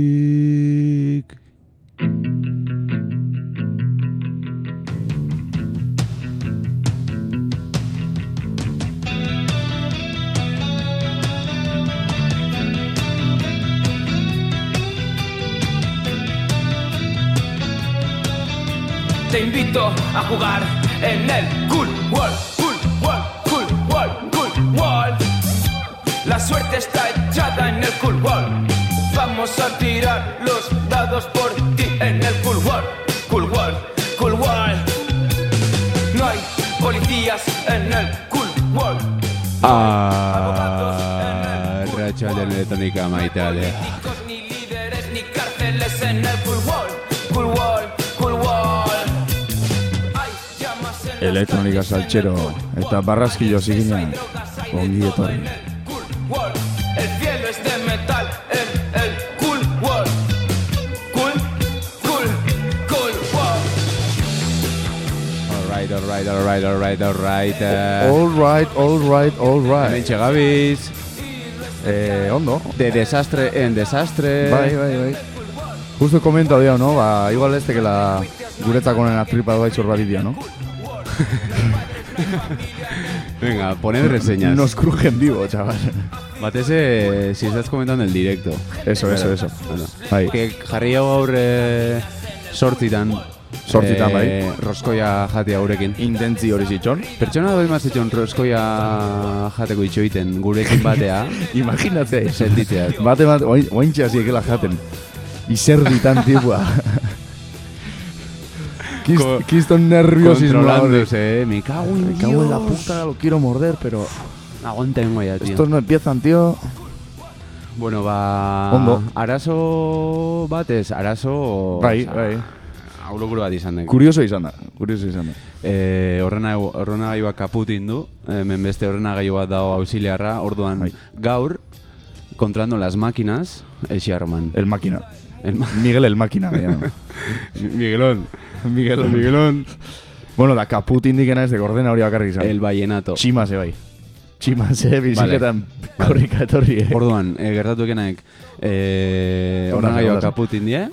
Bermudatik. Te invito a jugar en el Cool World, Cool World, Cool World, Cool World. La suerte está echada en el Cool World. Vamos a tirar los dados por ti en el Cool World, Cool World, Cool World. No hay policías en el Cool World. Ah, Arratxaldean eletonika maitalea Políticos, ni líderes, ni cárceles en el Cool World, Cool World, Cool World. Hay llamas en las Elektronika calles en el saltxero Cool World. eta barraskilo zigina. Hay drogas, hay de Ongi todo etorri. en el Cool World. El cielo es de metal en el Cool World. Cool, cool, cool world. Alright, alright, alright, alright, alright eh. All right, all right, all right. Hementxe gabiz Eh, ondo. De desastre en desastre Bai, bai, bai. Justo komenta dio, no? Ba, igual este ez tekela guretzako nena tripa doa itxor dio, no? Venga, poned reseñas Nos crujen vivo, chaval. Batez, eh, si estás comentando el directo Eso, eso, eso. Bueno. Bai. Que jarri hau gaur eh, sortzitan Zortzitan, bai. Roskoia jati haurekin Intentzi hori zitzon. Pertsona doi mazitxon roskoia jateko itxoiten gurekin batea Imaginatzea Sentitzea Bate bat, oain- oaintxe hasi ekela jaten. Izerditan tipua. Kist- Ko- Kiston nerviosismo Controlándose, eh, me cago en Me cago en la Dios. puta, lo quiero morder, pero Aguanta en guaya, tío estos no empiezan, tío. Bueno, ba... Ondo. Arazo batez, arazo... Bai, osea, bai. Aurrokuru bat izan dek. Kurioso izan da, kurioso izan da. Eh, horrena, horrena gaiua kaputin du, hemen beste horrena gaiu bat dago auxiliarra, orduan Bai. gaur, controlando las máquinas, eixi arman. El máquina. El ma- Miguel el máquina. me llama. Miguelón, Miguelón, Miguelón. bueno, da kaput indikena ez de gordena hori bakarrik izan. El vallenato. Tximase bai. Tximase biziketan korrika etorri. eh. Orduan, e, gertatu ekenaek, e, Ona, horren ona. gaioak kaputin die,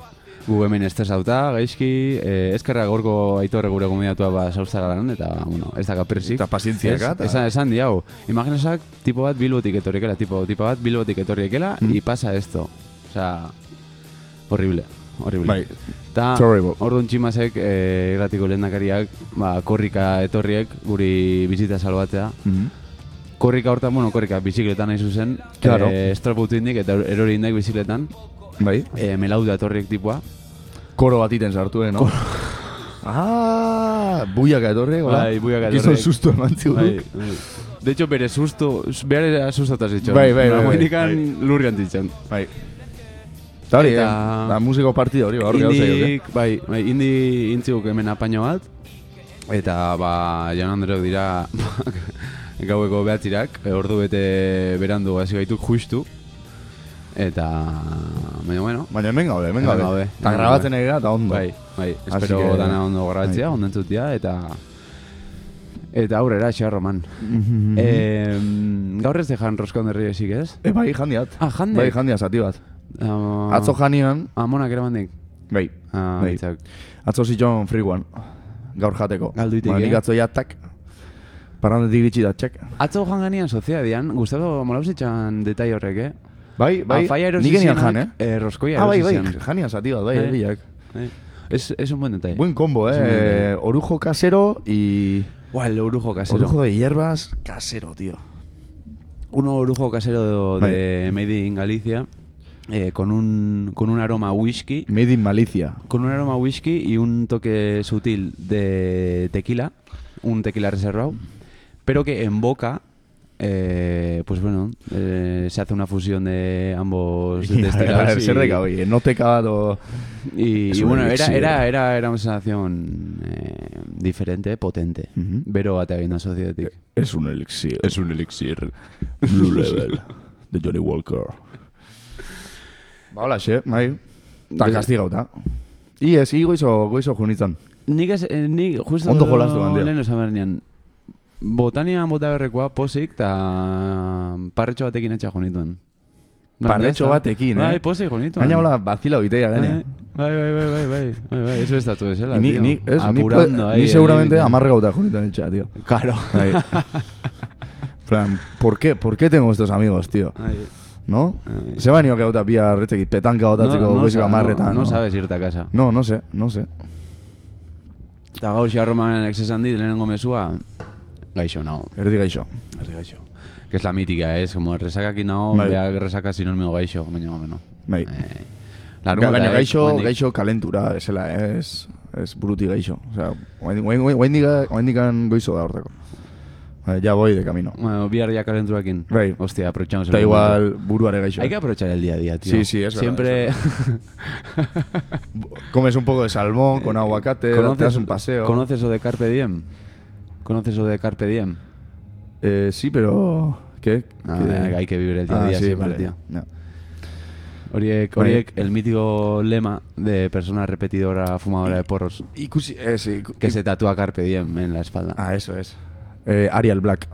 gu hemen estresauta, gaizki, e, ezkerra gorko aitorre gure gomidatua ba sauzara lan, eta, bueno, ez daka persik. Eta pazientzia Ez, gata. Esan, esan di hau, imaginasak, tipo bat bilbotik etorrikela, tipo, tipo bat bilbotik etorrikela, Mm. y pasa esto. Osea, horrible, horrible. Bai. Ta, Terrible. orduan tximasek, e, irratiko lehendakariak, ba, korrika etorriek, guri bizita salbatzea, Mhm. Korrika hortan, bueno, korrika, bizikletan hain zuzen. Claro. Eh, Estraputindik eta erori indak bizikletan. Bai. Eh, melau da torriek tipua. Koro bat iten sartu, eh, no? ah, buiaka etorri, hola. Bai, buiaka Gizon etorri. susto eman Bai, ziguduk. bai. De hecho, bere susto, bere sustataz itxon. Bai, bai, bai, bai. Nagoenikan lurrian ditxan. Bai. Eta hori, eh? Eta- Da musiko partida hori, ba, hor gauza egin, eh? Indik, bai, bai, indi intziguk hemen apaino bat. Eta, ba, jaun Andreok dira gaueko behatzirak, eh, ordu bete berandu hasi gaituk justu. Eta, baina, bueno, Baina hemen gaude, hemen Hemen gaude. gaude. Eta grabatzen ari gara, eta ondo. Bai, bai, Así espero que- dana ondo grabatzea, bai. ondo entzutia, eta... Eta aurrera, xa, Roman. Mm-hmm. eh, gaur ez dejan roskon derri esik ez? E, bai, jandiat. Ah, jande. Bai, jandiat, zati bat. Ah, Atzo janian, Amonak eraman dik. bai, Ah, bai. hitzak. Atzo zitxon friguan, gaur jateko. Galdu iteke. Ba, nik atzo jatak, parrandetik iritsi da txek. Atzo joan ganean soziadian, gustatu molauzitxan detai horrek, eh? Bai, bai, Ah, faia nik enian jan, eh? Eh, roskoia Ah, bai, bai, erosizianak. janian zati bat, bai, Bai. egiak. Eh, Es, es un buen detalle. Buen combo, Es un buen eh? detalle. Orujo casero y... Buah, el orujo casero. Orujo de hierbas casero, tío. un orujo casero de, de Made in Galicia eh, con, un, con un aroma a whisky. Made in Malicia. Con un aroma a whisky y un toque sutil de tequila, un tequila reservado, pero que en boca, eh, pues bueno, eh, se hace una fusión de ambos A ver, destilados. zer deka, oye, no te cagado... y, Es y un bueno, era, elixir. era, era, era una sensación eh, diferente, potente. Ujú. Eh, Vero Bateaguina Society. Es un elixir. un elixir. Blue Level. De Johnny Walker. Ba, hola, xe, bai. Ta De- kastigauta. Ies, i goizo, goizo junitzen. Nik, ez, eh, nik justo Ondo jolastu, Andrea. lehen esan behar nian. Botanian bota berrekoa pozik eta parretxo batekin etxea jo nituen. Pardetxo batekin, eh? Bai, pozik, bonito. Gaina hola, bazila oitea, gaina. Bai, bai, bai, bai, bai, bai, bai, bai, eso estatu bezala, Y ni, tío. ni, ez, ni, Apurando ahí ni el pues, seguramente límite. amarre gauta jonitan etxea, tío. Claro. Ahí. plan, ¿por qué? ¿Por qué tengo estos amigos, tío? Ahí. ¿No? Ahí. Se van gauta pia reteki, petanka gotatzeko no, goizeko sa- amarretan. no sabes irte a casa. No, no sé, no sé. Eta gaur xarroman exesan dit, lehenengo mesua, gaixo nao. Erdi gaixo. Arri gaixo. Que es la mítica, ¿eh? es, como resakakin nao, Bai. beak resaka sinón meo gaixo, baina gomeno. Bai. Eh, larunbata, Ga- Gaina eh, gaixo, oraindik. gaixo kalentura, esela, ez, ez buruti gaixo. Osea, oaindikan goizo da hortako. Eh, Ya voy de camino. Bueno, bihar ya calenturakin. Bai. Hostia, aprovechamos el Eta momento. igual buruare gaixo. eh. Hay que aprovechar el día a día, tío. Sí, sí, es verdad, Siempre. Comes un poco de salmón Eh, con aguacate, te das un paseo. ¿Conoces o de Carpe Diem? ¿Conoces o de Carpe Diem? Eh, sí, pero... ¿Qué? Ah, ¿Qué? venga, hay que vivir el día a Ah, día sí, siempre, vale. tío. No. Horiek, Bai. horiek, el mítico lema de persona repetidora fumadora de porros Ikusi, eh, sí, iku- que se tatúa Carpe Diem en la espalda. Ah, eso es. Eh, Arial Black.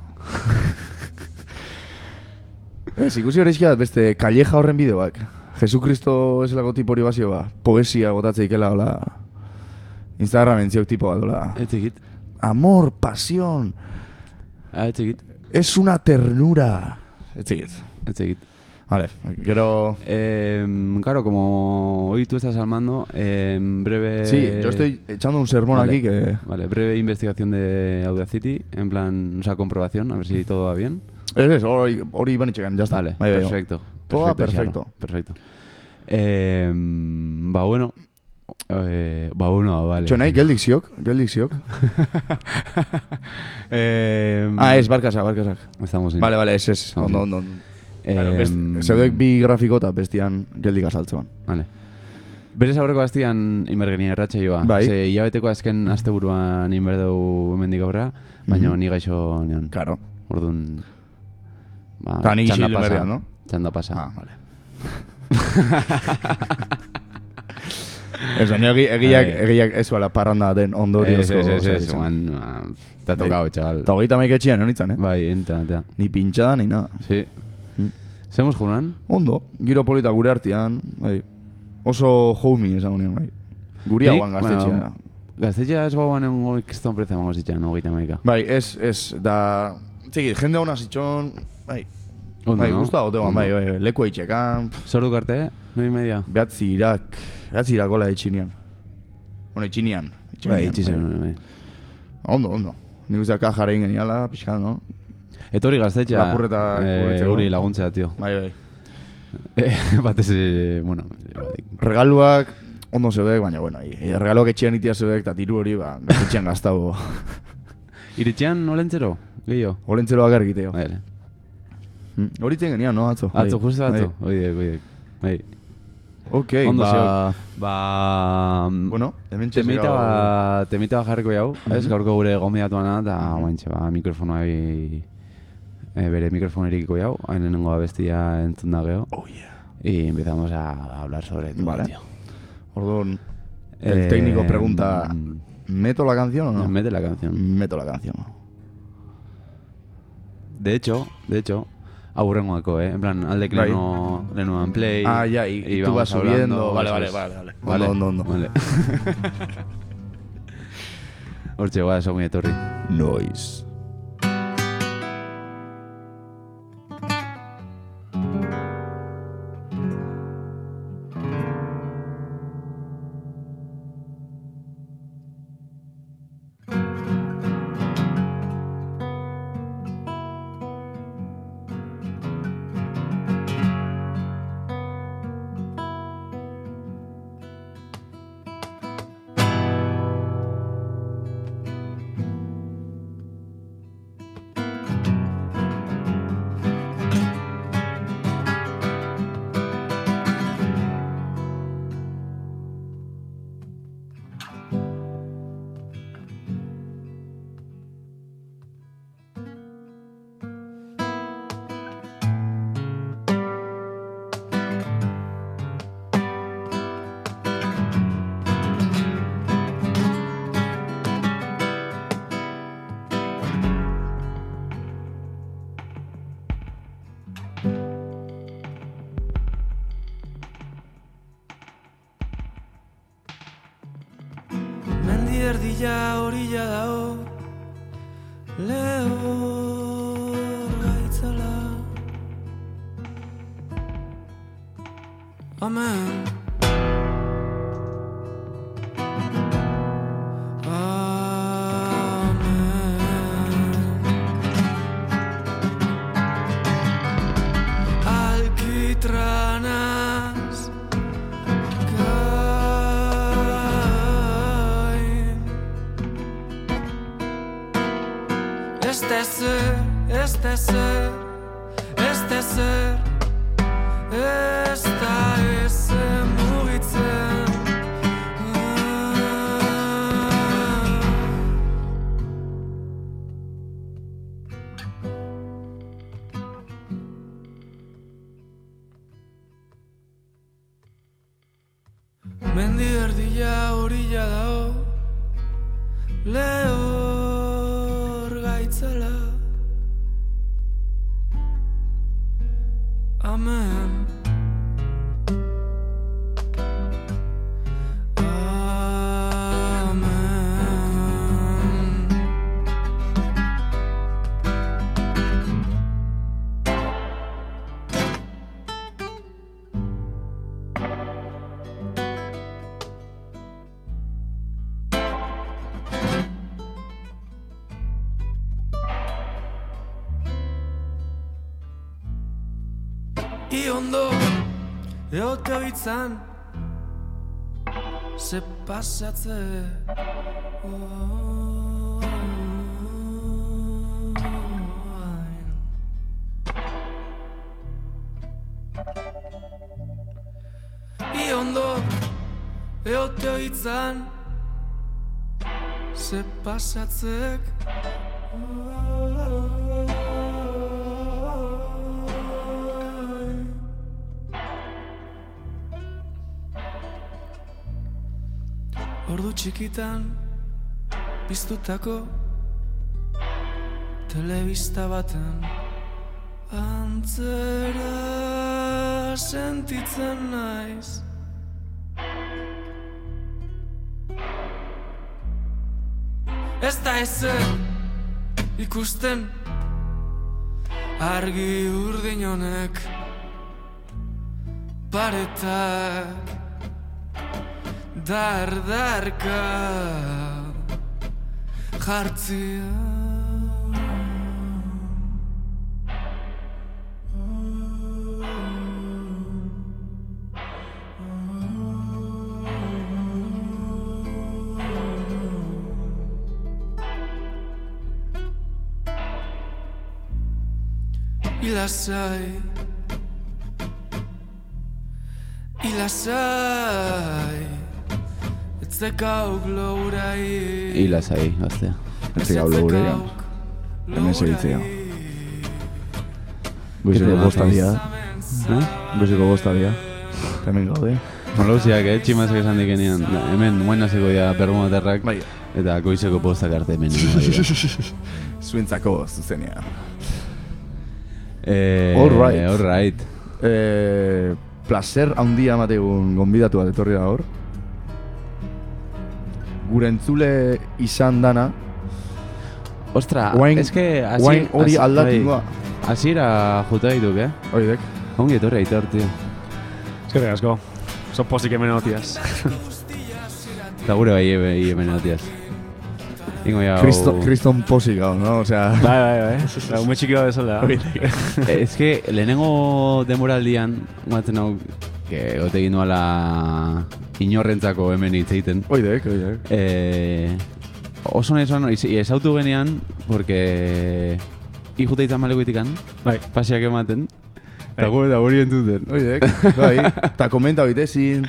Ez, ikusi horrezkia beste kalleja horren bideoak. Jesucristo eselako tipo hori bazio ba, poesia gotatze ikela hola. Instagram entziok tipo bat hola. Eh, txikit. Amor, pasión, Ah, eh, txikit. es una ternura. Etzigit. Eh, txikit. Vale, gero... Em, claro, como hoy tú estás al mando, em, breve. Sí, yo estoy echando un sermón Vale. aquí que... Vale, breve investigación de Audacity, en plan, o sea, comprobación, a ver si todo va bien. Ez, ez, hori, hori banitxekan, jazta. Vale, Bai, bai, bai. perfecto. Todo Perfecto. Xarro, Perfecto. Eh, ba, bueno. Eh, ba, bueno, vale. Txo nahi, geldik ziok, geldik ziok. eh, Ah, ez, barkazak, barkazak. Estamos en... Vale, vale, ez, ez. Ongi. Ondo, ondo, ondo. Eh, Claro, best, zeudeek bi grafiko eta bestian geldik azaltzean. Vale. Berez aurreko aztian inbergenia erratxe joa. Bai. Ze hilabeteko azken asteburuan inberdeu hemendik aurra, baina Mhm. ni gaixo nion. Claro. Orduan... Ba, Ta nik txanda isilik pasa. berrian, no? Txanda pasa. Ah, vale. ez baina egi, egiak, Bai. egiak ez bala parranda den Ez, ondoriozko. ez, ez, osea, ez, izan. man, ah, te ha tocado, chaval. Eta hogeita maik etxian, honitzen, eh? Bai, enta, enta. Ni pintxada, ni nada. Sí. Mm. Zemos juran? Ondo, giro polita gure artean, bai. Oso homie esan honean, bai. Guri Nik, hauan gaztetxea. bueno, Gaztetxea ez bauan egon kriston preza emango zitxan, hogeita maika. Bai, ez, ez, da... Txiki, jende hona zitxon, bai. Ondo, bai, no? guztua gotean, Ondo. bai, bai, bai, leku eitxekan, Zordu karte, noi media? Behatzi irak, behatzi irak gola etxinean. Bueno, etxinean. Bai, itxizen, bai. Ondo, ondo. Nik uste kajara egin geniala, pixkan, no? Etorri gaztetxea, Lapurreta eh, guretzeko. guri laguntzea, tio. Bai, bai. Eh, Batez, eh, bueno, badik. Regaluak, ondo zeudek, baina, bueno, i- i- regaluak etxean itia zeudek, eta diru hori, ba, etxean gaztago. Iritxean nolentzero, gehiago? Olentzelo bakar egiteo. Bale. Mm, Hori zen genian, no, atzo? Atzo, Bai, justo atzo. bai. Oidek, oidek. Bai. Ok, Ondo ba... zeok. Ba... Bueno, hemen mm, Temita txezera- ba, temita ba jarriko jau, ez gaurko gure gomidatuana eta guantxe, ba, mikrofonoa bi, e, bere mikrofonerikiko jau, hain lehenengo abestia entzun da geho, Oh, yeah. y empezamos a hablar sobre todo, Vale. tío. Orduan, el Eh, técnico pregunta, mm. ¿meto la canción o no? Mete la canción. Meto la canción. De hecho, de hecho, aburrengoako, eh, en plan, aldek Bai. leno, lenoan play. Ah, ya, y- y tú vamos vas subiendo, vale, eso vale, es. vale, vale. Ondo, ondo, ondo. Vale. Hortxe, guaz, ongi etorri. Noise. erdila orilla dao Leo gaitzala Amen Amen Alkitranaz Gain Ez tezer, ez tezer, ez tezer Ez da ezer mugitzen Ah. Mendi erdila orilla dao Lehor gaitzala Amen Amen I ondo Eote bitzan Ze pasatze oain. I ondo Eote bitzan Ze pasatzek oain. Ordu txikitan piztutako telebista baten antzera sentitzen naiz Ez da ezer ikusten argi urdin honek paretak dardarka jartzea Ilasai Ilasai Ez dekauk lourai Hila zai, gaztea. Ez dira hau gurea. Hemen segitzea. Goizeko Irribarre. bostadia. Eh? Goizeko bostadia. Hemen gaude. Malauziak, eh, tximazak esan dikenean, da, hemen buen hasiko dira bermudaterrak, Bai. eta goizeko postak arte hemen. ari dira. Zuentzako zuzenean. Eh, All right. All right. Eh, placer handia mategun gonbidatu bat etorri da hor. Gure entzule izan dana, Ostra, Oain- es que... hasi- oain hori hasi- aldatu da. bai. Hasiera juta dituk, eh? Hori dek. Ongi etorri aitor, tío. Eskerrik asko. Son pozik hemen otiaz. Eta gure bai, ebe, hemen hotiaz. Ingo ya... Kristo- Kriston posik gau, no? Osea, Bai, bai, bai. Eta ume txiki bat bezala. Ez Eh, que lehenengo denboraldian, guatzen hau, que gote egin nuala inorrentzako hemen hitz egiten. hori dek, hori dek. Eh, oso nahi zuen, iz- ezautu genean, porque... Ijute izan malekoitikan, Bai. pasiak ematen. Eta Bai. gure da hori entuten. Hoi dek, bai, eta komenta hori tezin.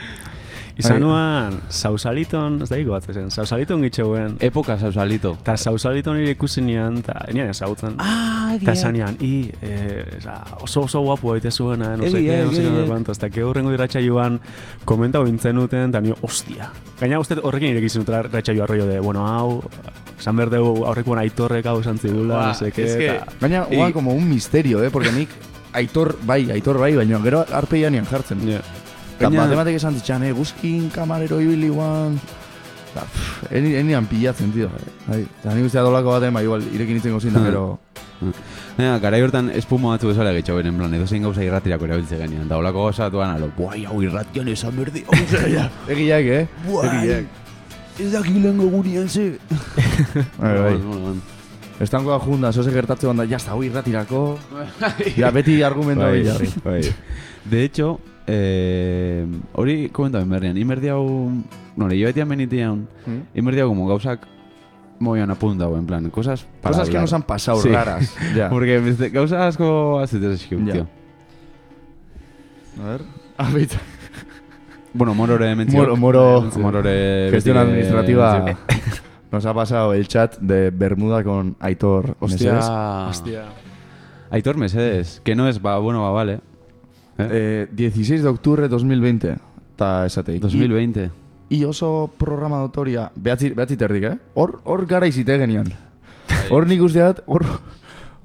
Izan nuan, sausaliton, ez da hiko bat zen, sausaliton gitxeuen. Epoka zausalito. Eta sausaliton nire ikusi nian, eta nian ezagutzen. Ah, Eta esan nian, i, eh, esa, oso oso guapo baite zuena, eh, no Egi, seke, no egi, seke, no egi. kuanto. Eta que horrengo iratxa joan, komenta bintzen duten, eta nio, ostia. Gaina uste horrekin ireki zinutela iratxa joan rollo de, bueno, hau, esan behar dugu aurrekoan aitorrek hau esan zigula, Ba, no seke, es que- eta... Gaina, Y- guan, como un misterio, eh? Porque nik Aitor bai, Aitor bai, baina gero arpeian jartzen. Ja. Eta Gaina- bat ematek esan ditxan, eh, guzkin kamarero ibili guan, Da, pff, Eni, enian pilatzen, tío. Bai, eta nik uste adolako baten, ba, igual, irekin itzen gozin da, Hmm. pero... Nena, gara hortan espuma batzu bezala getxo beren plan, edo zein gauza irratirako erabiltze genian, eta holako gauza duan alo, buai, hau irratian esan berdi, hau zera, Egileak, eh? Egileak. ez dakik lengo gurian ze. Bai, bai. Estankoa junda, zoze gertatzen banda, jazta, hoi irratirako. Ja, beti argumento Bai, hori jarri. bai. De hecho, eh, hori komenta ben berrian, inberdi hau, no, lehi betian benitian, Hmm? inberdi hau como gauzak moian apunta, en plan, cosas para Cosas que hablar. nos han pasado Sí. raras. Ja. Porque beste- gauza asko azetes eskip, Ja. tío. A ver. Ah, beita. Bueno, morore mentzio. Moro, moro, morore gestión beti- eh, administrativa. Nos ha pasado el chat de Bermuda con Aitor. Mesedes. Hostia. Hostia. Aitor Mercedes, que no es, va, bueno, va, vale. Eh, 16 de octubre 2020. Ta esatei. 2020. I, i oso programa dotoria. Behatzi, behatzi terdik, eh? Hor, hor gara izite genian. Bai. Hor nik usteat, hor...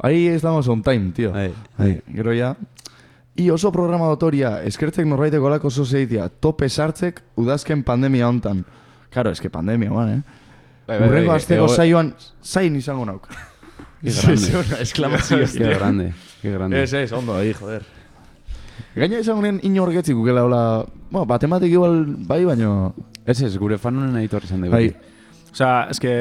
Ahí estamos on time, tío. Ahí. Ahí. Gero ya. I oso programa dotoria, eskertzek norbaiteko olako sozeitia, tope sartzek udazken pandemia hontan. Karo, eske pandemia, man, eh? Bai, bai, bai, Urrengo que- asteko que- saioan zain izango nauk. Qué grande. Esklamazio. Qué grande, qué grande. Ez, ez, ondo, ahi, joder. Gaina izan honen inorgetzik gukela, hola, bueno, batematik igual, bai, baino... Ez ez, gure fan honen Aitor izan dugu. Bai, Osa, eske,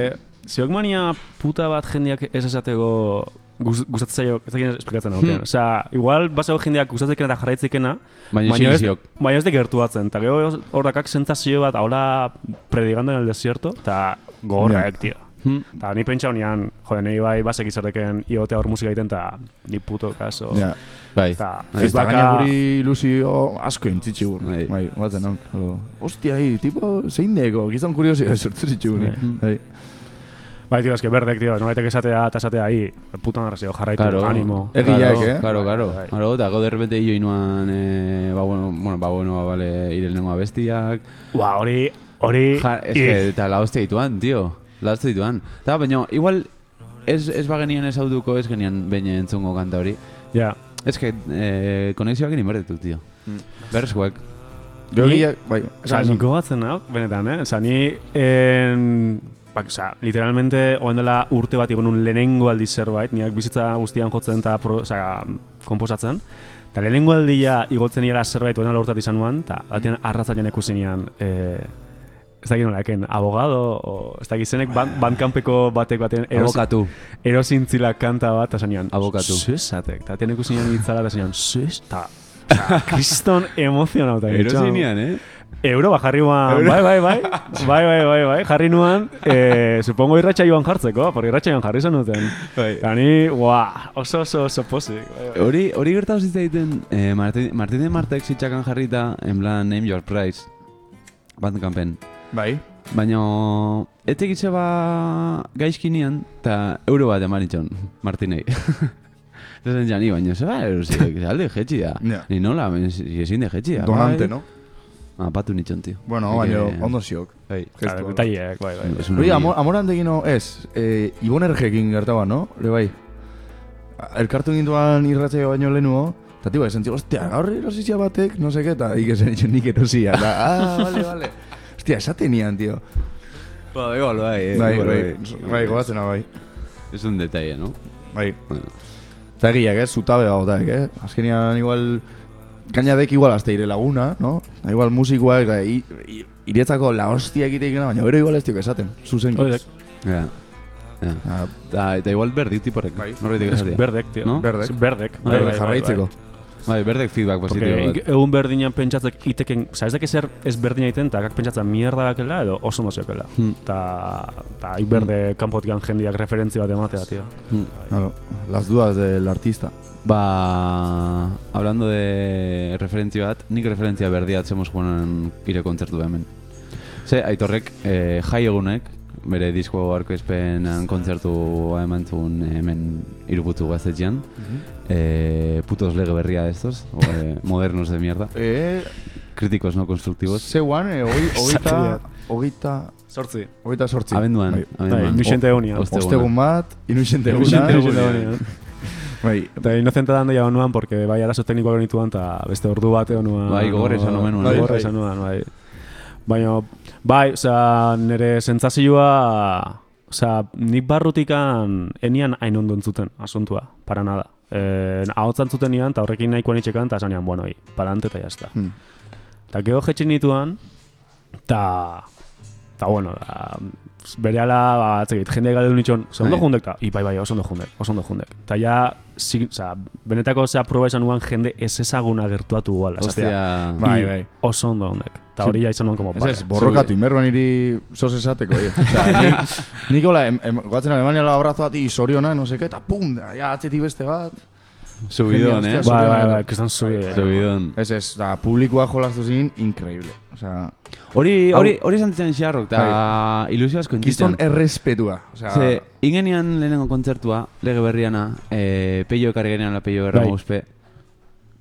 zeok mania puta bat jendeak ez esatego guz- gustatzen zaio, ez dakit esplikatzen hau. Hmm. Osa, igual basago jendeak gustatzekena eta jarraitzekena, Baina ez, siniziok. baina ez de gertuatzen. Eta gero hor dakak sentazio bat, ahora predigando en el desierto, eta gorrak, tío. Hmm. Eta ni pentsa honean, jode, nahi bai basek izateken iote hor musika egiten, eta ni puto kaso. ja. Bai. Eta Ez da, gaina baka- guri ilusio asko intzitsi gur. Bai. Bai, batzen hau. Ostia, hi, tipo, zein deko, gizan kuriosio sortu zitsi gur. Bai. Bai, tío, eske berdek, tío, norbaitek esatea eta esatea ahi, putan arrazio, jarraitu, Claro. animo. Egileak, Claro, eh? Claro, claro. Bai. Claro, eta gau derrepente hio inuan, eh, ba, bueno, bueno, ba, bueno, ba, vale, irelnengo abestiak. Ba, hori, hori, Ja, es que, eta la hostia dituan, tío. La hostia dituan. Eta, baina, igual, ez, ez bagenien ez autuko, ez genian baina entzungo kanta hori. ja. Ez que, eh, konexioak egin inberdetu, tío. Berreskuak. Gero Ni- gila, bai. Osa, esan- niko batzen nau, benetan, eh? Osa, ni, en... Ba, osa, literalmente, oen dela urte bat egon un lehenengo aldi zerbait, niak bizitza guztian jotzen eta, pro- osa, komposatzen. Eta lehenengo aldia igotzen nila zerbait oen dela urtat izan nuen, eta batean arratzailean ekusi nian, eh, ez dakit nola, eken, abogado, o, ez dakit zenek, ban, bankanpeko batek baten eros, Abokatu. erosintzila kanta bat, eta zanian, Abokatu. Zesatek, eta tienen ikusi nian itzala, eta zanian, zes, eta... osa, Kriston emozionauta. Erosinean, eh? Euro bajarri nuan, bai, bai, bai, bai, bai, bai, bai, jarri nuan, eh, supongo irratxa joan jartzeko, porque irratxa joan jarri zenuten. Bai. Eta ni, guau, oso, oso, oso pozik. Bai, bai. Hori, hori gertatu zitzaiten, eh, Martin, Martin de Martek zitxakan jarrita, en plan, name your price. Bandcampen. Bai. Baina, etek itxe ba gaizkinean, eta euro bat eman itxon, Martinei. Eta zen jani, baina zeba erosiek, ba, alde jetxi da. Ja. Ni nola, baina zi- ezin de jetxi da. Donante, no? Ah, patu nitxon, tio. Bueno, Eke- baina, ondo ziok. Bai. Claro, Detaileak, bai, bai. Es un Hori, hori- amor, amorantekino, ez, e, Ibonergekin gertaba, no? Hore bai. A- Elkartu gintuan irratzaio baino lehenuo, eta tiba, esan zigo, ostia, gaur erosizia batek, no seke, eta ikezen itxen nik erosia. Da, ah, vale, vale. Ostia, esaten nian, tio. Ba, igual, bai, eh, Bai, igual, bai, bai. bai, goatzen bai. Es un detalle, no? Bai. Bueno. Eta egiak, ez, zutabe bagotak, eh? Azkenian, igual, gainadek igual hasta ire laguna, no? Da, igual musikoak, da, i, i, iretzako la hostia egiteik, baina bero igual ez diok esaten, zuzen. Hori, Ja. Ja. Ah, Ta- Eta igual berdik tiporek. Bai. Norbaitek esatea. berdek, tio. No? Berdek. Ez Berdek. Bai, bai, bai, jarraitzeko. bai. Bai, berdek feedback Porque positibo bat. egun berdinan pentsatzek iteken, oza, ez dakit zer ez berdina egiten, eta kak pentsatza mierda dakela edo oso moziokela. Hmm. Eta hmm. berde kanpotikan jendiak referentzia bat ematea, tio. Hmm. Claro, las dudas del artista. Ba, hablando de referentzia bat, nik referentzia berdia atzemos joan ire kontzertu da hemen. Ze, aitorrek, eh, jai egunek, bere disko arkoizpenan kontzertu eman zuen hemen iruputu gaztetxean. Mhm. eh, putos lege berria de estos, o, eh, modernos de mierda, Eh, críticos no constructivos. zeuan, eh, hoi- hogeita, hogeita, Sortzi. hogeita sortzi. Abenduan, Bai, abenduan. Nuixente egunean. Osteguna. Ostegun bat, inuxente Nuixente eguna. egunean. Bai, Eta inocente dan daia honuan, porque bai arazo teknikoak genituan, eta beste ordu bate honuan. Bai, gogor esan omen nuen. Bai, Bai, gogor bai. esan nuen, bai. Baina, bai, oza, nire sentzazioa, oza, nik barrutikan enian hain ondo entzuten, asuntua, para nada. Eh, hau zuten nian, eta horrekin nahiko nitxekan, eta esan nian, bueno, hi, palante eta jazta. Hmm. Eta geho jetxin nituan, eta, eta bueno, da, bere ala, ba, atzegit, jende galdu nitxon, oza, ondo Bai. jundek, eta, ibai, bai, oso ondo jundek, oso ondo jundek. Eta ja, si, oza, benetako, oza, proba esan nuan jende ez ezaguna gertuatu guala, esatea. Ostia. Ba, Bai, bai. Oso ondo ondek. Eta hori ja izan nuen, como, Ez vale. ez, borrokatu, inberba niri sos esateko, oie. Osea, ni- Nik hola, em- em- goatzen Alemania la abrazo ati soriona, no seke, eta pum, da, ja, atzetik beste bat. Subidon, Genial, eh? hostia, Bai, Zure- bai, bai, kristan zuri. Subidon. Ez ez, da, publikoa jolastu zin, increíble. Osea, Hori, hori, hori izan zian xarrok, eta Bai. ilusio asko kiston entzitzen. errespetua. Osea, Ze, ingenian lehenengo kontzertua, lege berriana, e, peio ekarri genean la peio berra Bai. mauspe.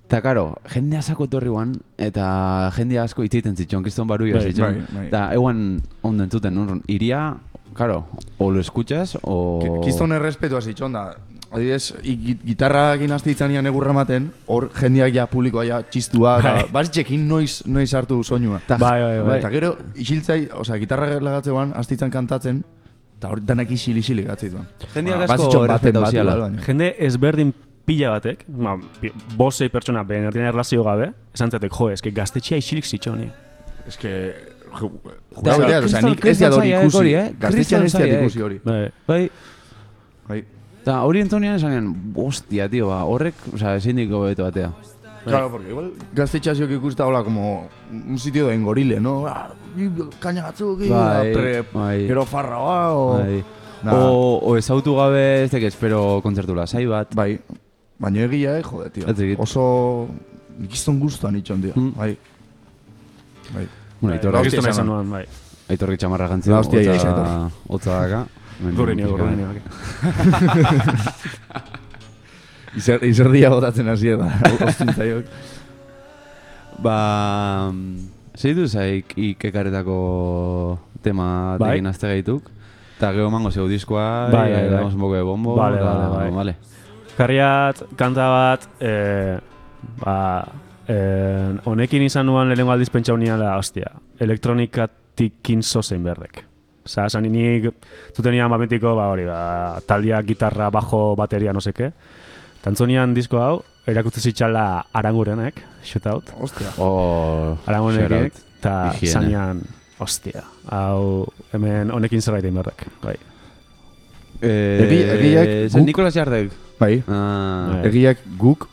Eta karo, jende asako torri guan, eta jende asko itziten zitzon, kriston baru Bai, zitzon. bai, bai. Eta eguan ondo entzuten, nun, iria, karo, o lo escuchas, o... ki- Kiston errespetua zitxon da. Adibidez, i- gi- gitarra ginazte itzanian egurra maten, hor jendeak ja publikoa ja txistua, eta Bai. bazitxekin noiz, noiz hartu soinua. Ta- Bai, bai, bai. Eta gero, isiltzai, osea, gitarra lagatzean, astitzan kantatzen, eta hor danak isil-isilik gatzituan. Jendeak Ba, asko bazitxon baten errespetau bat ziala. igual, baina. Jende ezberdin pila batek, ma, pi- bosei pertsona behen erdian erlazio gabe, esan zatek, jo, eske gaztetxea isilik zitxoni. Es que... Da, Jugabe da, o sea, kriston- nik ez diat hori kriston zaila ikusi. hori, eh? Gaztetxean ez Kriston diat zaila, ikusi eh? hori. Bai, Bai, Bai. eta hori entzunean esan ginen, hostia, tio, ba, horrek, oza, ezin diko beto batea. Bai. Claro, porque igual gaztetxea ziok ikusta hola como un sitio de engorile, no? Ah, Kaina batzuk, i, Bai, pre- bai. gero farra ba, o... Bai. Nah. O, o ezautu gabe, ez dakit, espero kontzertu lasai bat. Bai. Baina egia, eh, jode, tio. Ez dakit. Oso... Nikizton guztuan itxon, tio. Mm. Bai. Bai. Bueno, bai, Aitor- hostia kriston esan esan nuen, bai. Aitorri txamarra jantzio. La Ba, hostia ia hotza- izan Hotza daka. Gurrinio, gurrinio. Izer, izerdia botatzen hasi da. bai. Ostintzaiok. Ba... Zeitu zaik ikekaretako tema Bai. tekin azte gaituk. Eta gero mango zeu diskoa, Bai, bai, eh, bai. damos un poco de bombo. Vale, eta- vale, bai. vale. Karriat, kanta bat, eh, ba, eh, honekin izan nuen lehenengo aldiz pentsa unian da, hostia, elektronikatik zozein berdek. Osa, esan nik zuten nian mapentiko, ba hori, ba, taldia, gitarra, bajo, bateria, no seke. Tantzonian disko hau, erakutsi zitxala arangurenek, shootout. Ostia. Oh, Arangurenek, shoutout. eta Higiene. zanian, hostia, hau, hemen honekin zerbait egin berdek, bai. Eh, Egi- egiak San guk- Nikolas Jardek. Bai. Ah, Bai. Egiak guk,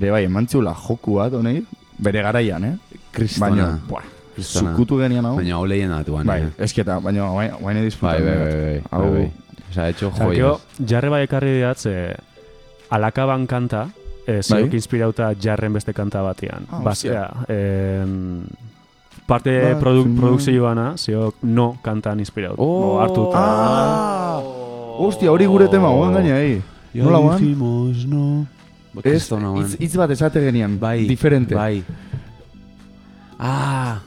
be bai, emantzula joku bat, honei, bere garaian, eh? Kristona. Baina, buah, Kristona. zukutu genian hau. Baina oleien atuan. Bai, eh. esketa, baina guain guain Bai, disfrutan. bai, bai, bai. Hau, bai, bai. Osa, hecho Eta, gero, joyas. jarre bai ekarri diat, ze, alakaban kanta, e, zeok inspirauta jarren beste kanta batean. Ah, Basea, em, parte Bat, produ zinuen. produkzioana, zeok no kantan inspirauta. Oh! Bo, hartu eta- Ah! Ostia, hori Oh. gure tema, guain gaina, eh? Oh. Nola guain? dijimos, no. Ez, hitz- hitz bat esate genian, Bai. diferente. Bai. Ah.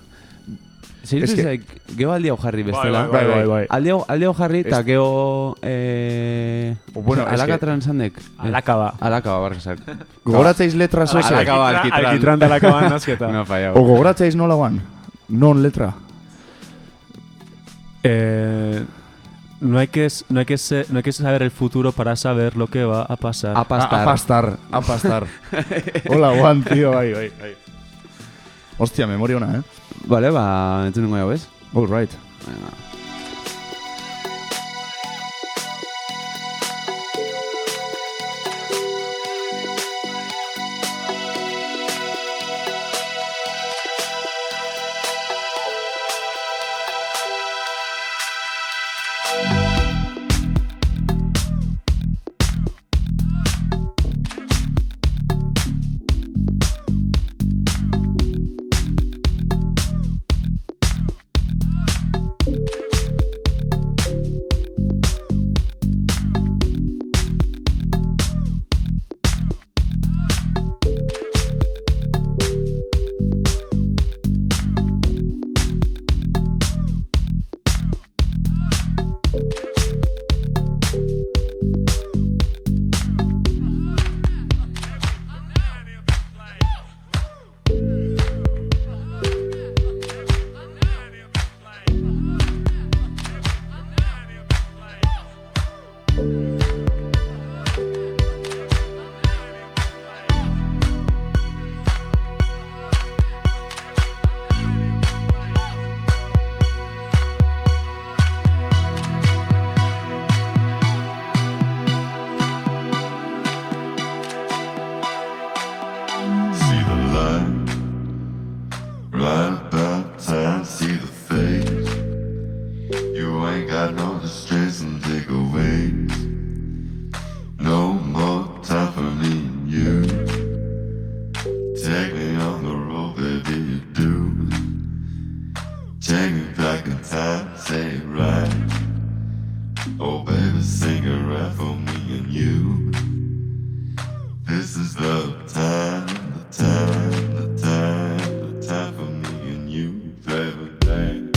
Zer Es es que- que... Geo aldi hau jarri bestela. bai, bai, bai. Aldi hau- aldi hau jarri eta geo... Eh... O, bueno, es alaka que- transandek. Alakaba. Alaka, ba, barkazak. Gogoratzeiz letra Oh, zoze. ba, Alakaba, alkitran. Alkitran da alakaban nazketa. Me ha O fallado. gogoratzeiz nola guan? Non letra. Eh, no, hay que, s- no, hay que se- no hay que saber el futuro para saber lo que va a pasar. A- Apastar. Apastar. Apastar. Hola guan, tío, bai, bai, bai. Ostia, memoria ona, eh? Vale, ba, entzun nengo jau, ez? All right. Blind bounce, I see the face. You ain't got no distress and takeaways. No more time for me and you. Take me on the road, baby, you do. Take me back in time, say it right. Oh, baby, sing it right for me and you. This is the time, the time, the time, the time for me and you, baby. baby.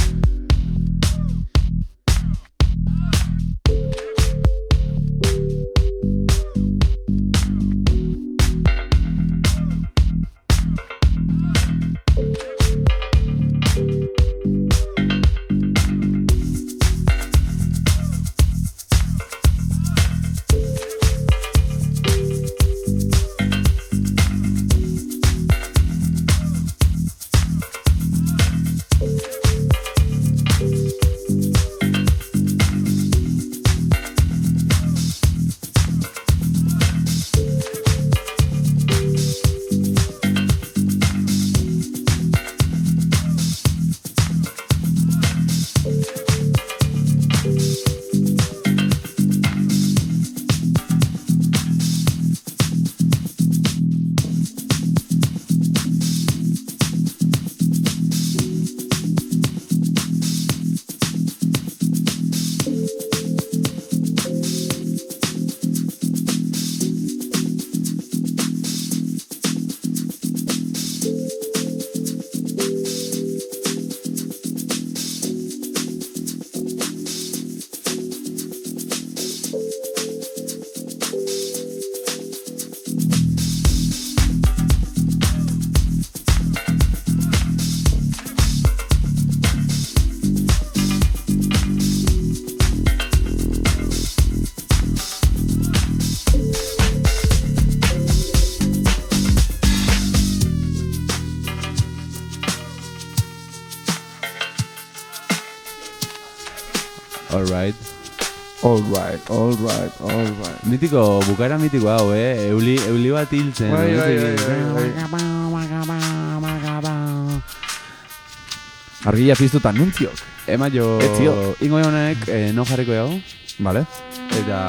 Alright. All right, all right, all right. Mitiko, bukaera mitiko hau, eh? Euli, euli bat hiltzen. Bai, ez bai, bai, dakit. bai, Argilla piztu eta nuntziok. Ema jo, Ez zio. ingo honek eh, no jarriko jau, Vale. eta...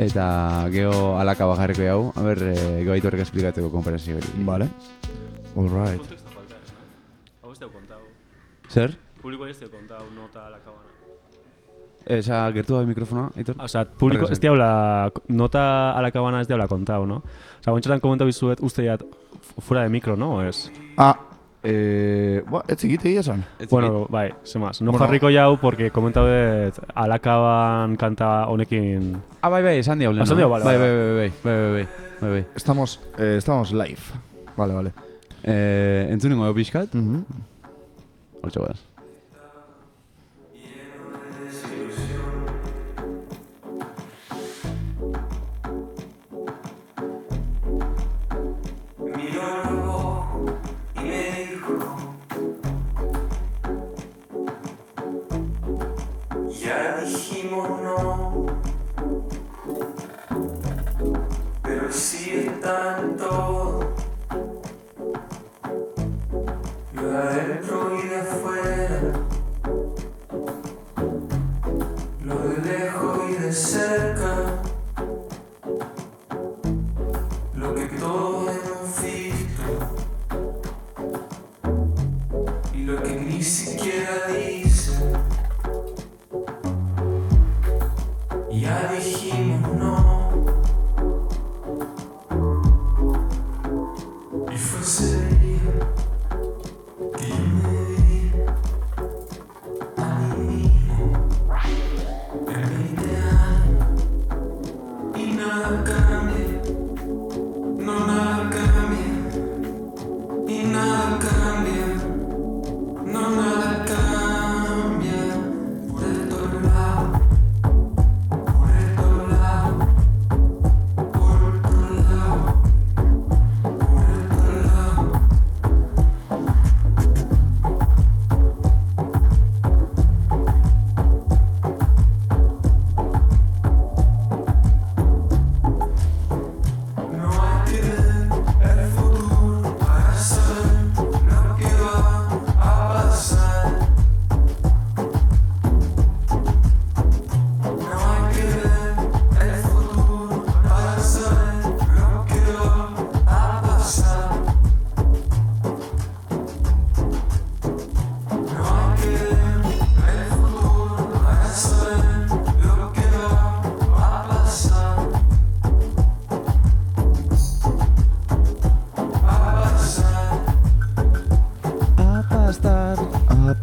Eta geho alaka bajarriko jau, a ber, eh, geho aitorrek esplikatzeko konferentzio hori. Vale. All right. Hau ez deu kontau. Zer? Publiko ez deu kontau nota alakabana. Esa, Eh, gertu da mikrofonoa, aitor? Osa, publiko ez diabla, nota alakabana ez diabla kontau, no? Osa, guantxetan komentau izuet uste jat fu- fuera de micro, no? Ez? Ah, eh, ba, ez zikite egia esan. Bueno, bai, semaz. No Bueno. jarriko jau, porque komentau dut alakaban kanta honekin... Ah, bai, bai, esan diau lehenu, Esan diau, eh? bale, bai, bai, bale. bai, bai, bai, bai, bai, bai. Estamos, eh, estamos live. Vale, vale. Eh, entzunengo jau pixkat? Mhm. Hortxe guaz. Ya dijimos no, pero si es tanto, yo de adentro y de afuera, lo de lejos y de cerca, lo que todos hemos visto y lo que ni siquiera dice. Ya dijimos no. Y fue ese día que yo me vi a mí mismo en mi ideal. Y nada cambia, no nada cambia. Y nada cambia, no nada cambia. Por estos lados. Por otro lado, por otro lado, por otro lado. No hay que ver el futuro para saber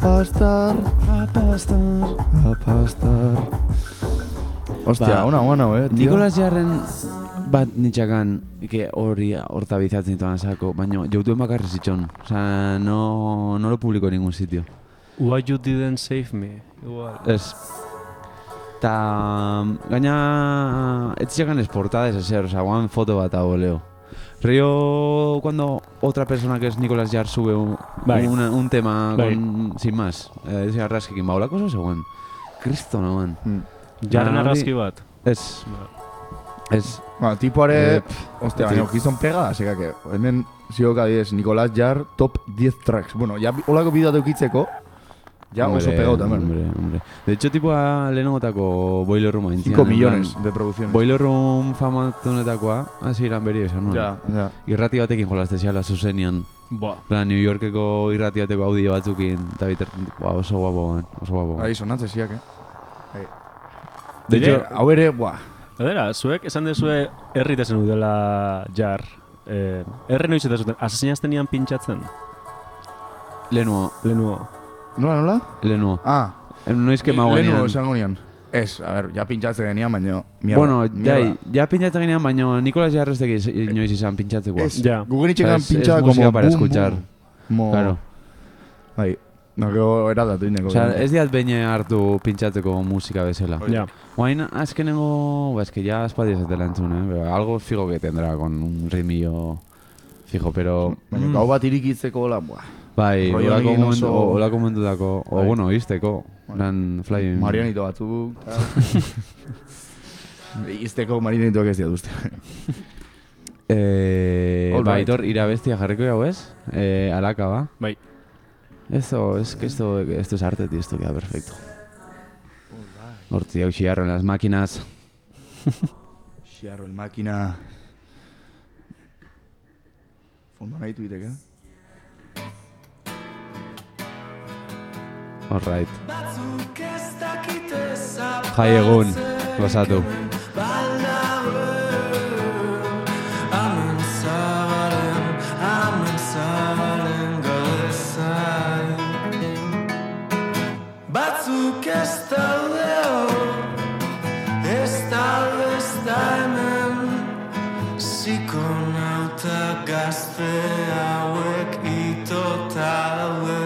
pastar, a pastar, a pastar. Ostia, Ba, ona, ona, eh, tio. Nikolas Jarren bat nitxakan, que hori horta bizatzen dituan sako, baina joutuen bakarri zitxon. Osa, no, no lo publiko en ningún sitio. Why you didn't save me? Igual. Ez. Ta gaina ez llegan exportadas a ser, o sea, one foto bat a voleo. Río cuando otra persona que es Nicolás Jar sube un, Bai. una- un tema Bai. con, sin más. Eh, ez arraskikin baula cosa seguen. Cristo no man. Mm. Jarren Ba, hori- argazki bat. Ez. Ez. Ba, tipoare, Eh, ostia, ti- baina gizon pega, sekak, eh, hemen zioka diez, Nicolás Jar top 10 tracks. Bueno, ja, bi- holako bidea dukitzeko, ja oso Hombre, pegota, hemen. Hombre, hombre. De hecho, tipoa lehenagotako Boiler Room hain 5 millones de producciones. Boiler Room famatunetakoa, hasi iran beri esan nuen. Ja, ja. Irrati batekin jolaste ziala zuzenian. Ba. Plan, New Yorkeko irratiateko audio batzukin, eta bitar, ba, oso guapo, man, oso guapo. Ahí sonatze ziak, eh. De Dire- hecho, Hau ere, buah, Adera, zuek esan dezue herri tezen udela jar. Eh, herri noiz eta zuten, asesinazten nian pintxatzen. lehenuo, Lehenuo. nola, nola? lehenuo. Ah, Noiz Eh, que mago Lehenu ganean. esango nian. Ez, a ber, ja pintxatzen genian, baina... mierda, Bueno, jai, mierda. ja pintxatzen ginean, baina Nikolas Jarreztek iz- inoiz izan pintxatzekoa. Ez, Ja. Google itxekan Es- es pintxa como... música para bum, bum. escuchar. Mo... Claro. Bai, no, gero eradatu ineko. O sea, ez diat behin hartu pintxatzeko musika bezala. Ja. Guain, azkenengo, ba, eske ja espatio zatela entzun, eh? Pero algo fijo que tendrá con un ritmillo fijo, pero... Baina gau bat irikitzeko hola, buah. Bai, Rollo olako egin momentu, oso- olako momentu dako, o, Bai. bueno, izteko, lan flying... Marianito batzuk... tal. Izteko marinitoak ez diat uste. Eh, All ba, right. Aitor, irabestia jarriko jau ez? Eh, alaka, ba? Bai. Esto, es que esto, esto es arte, tío, esto queda perfecto. Hortzi, hau xiarro en las máquinas. Xiarro, el makina... Fondo nahi tuitek, eh? All right. Batzuk ez dakite zapatzen Jai egun, gozatu. Balauen Amen zaren, amen zaren gadezain Batzuk ez daude hor Ez daude ez da hemen Psikonauta gazte hauek itota daude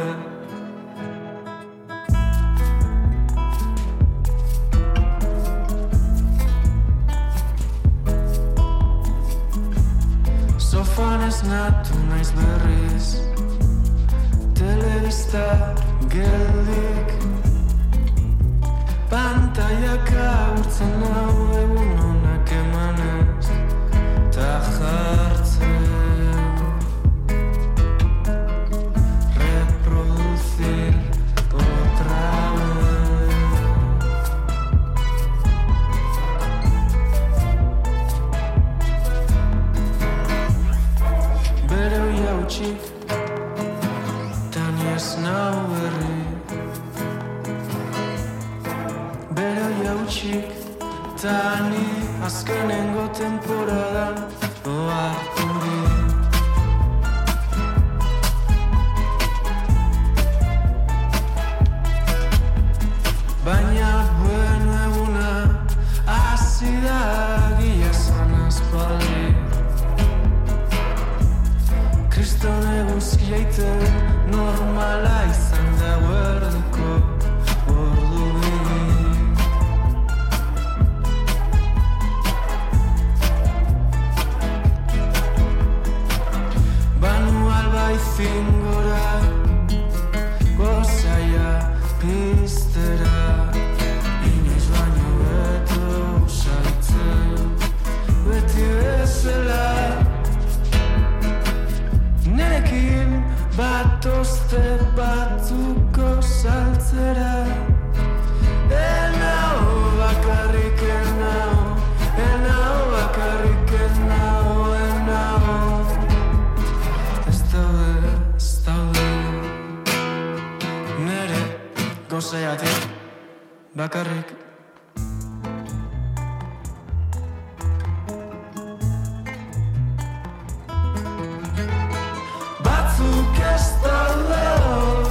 Sofan esnatu naiz berriz Telebista geldik Pantaiak aurtzen hau egun honak emanez Ta jartzen Reproducir otra vez Bere hoi hautsi Tan ez nau berri Bere hoi hautsi Tani azkenengo temporadan Oarturi Baina bueno eguna Hasi da gila zan aspaldi Kriston eguzkia iten normala izan da guerduko ordu begi Banu e albaizin gora gozaia piztera Inoiz baino beto saltzen beti bezala Nerekin bat oste batzuko saltzera Enau bakarrik enau Enau bakarrik enau Enau Ez daude, ez daude Nere gozaiatik bakarrik Batzuk ez daude hor,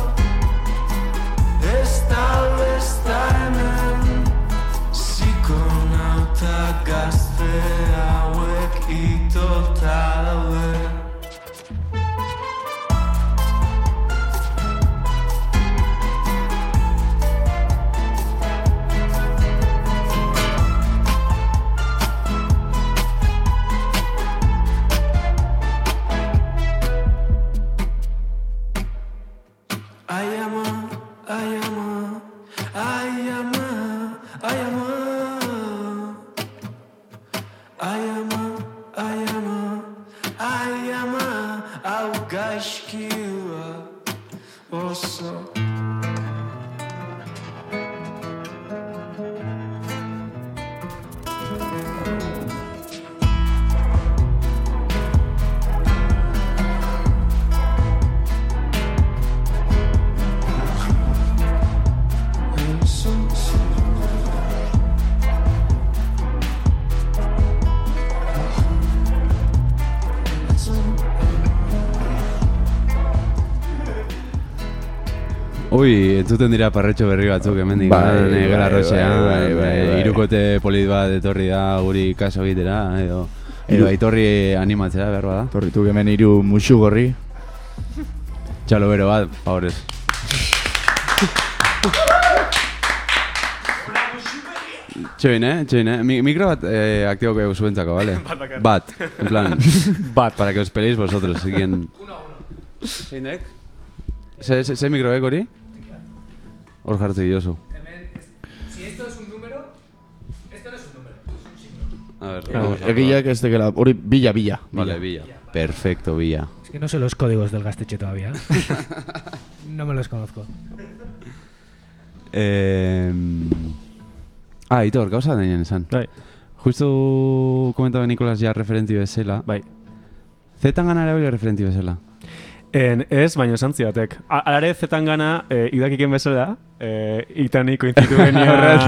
Ay, ama, ay, ama, ay, ama, ay, ama. Ay, ama, ay, ama, ay, ama, au gaşkiwa, oso. Ui, entzuten dira parretxo berri batzuk hemendik. Bai, Bai, bai, bai, gara bai, bai, bai, bai. Irukote eh, polit bat etorri da guri kaso egitera, edo... Edo Hiru- aitorri animatzera behar bada. Torritu hemen hiru musu gorri. Txalo bero bat, paurez. Txoin, eh? Txoin, eh? Mi- Mikro bat eh, aktiboko egu zuentzako, bale? bat, en plan. bat. Para que os peleéis vosotros, si quien... Zeinek? Ze, ze, ze mikroek hori? Hor jartze diozu. Si esto es un número, esto no es un número, es un signo. A ver, vamos a Egileak ez tekela, hori bila, bila. Vale, Villa. Perfecto, Villa. Es que no sé los códigos del gasteche todavía. no me los conozco. Eh, ah, Itor, gauza denean esan. Bai, Justu komentaba Nikolas ja referenti bezala. bai. Zetan gana erabili referenti bezala. En, ez, baina esan zidatek. Ah, A- Alare zetan gana, eh, idakiken bezala, eh, itani koinzitu genian...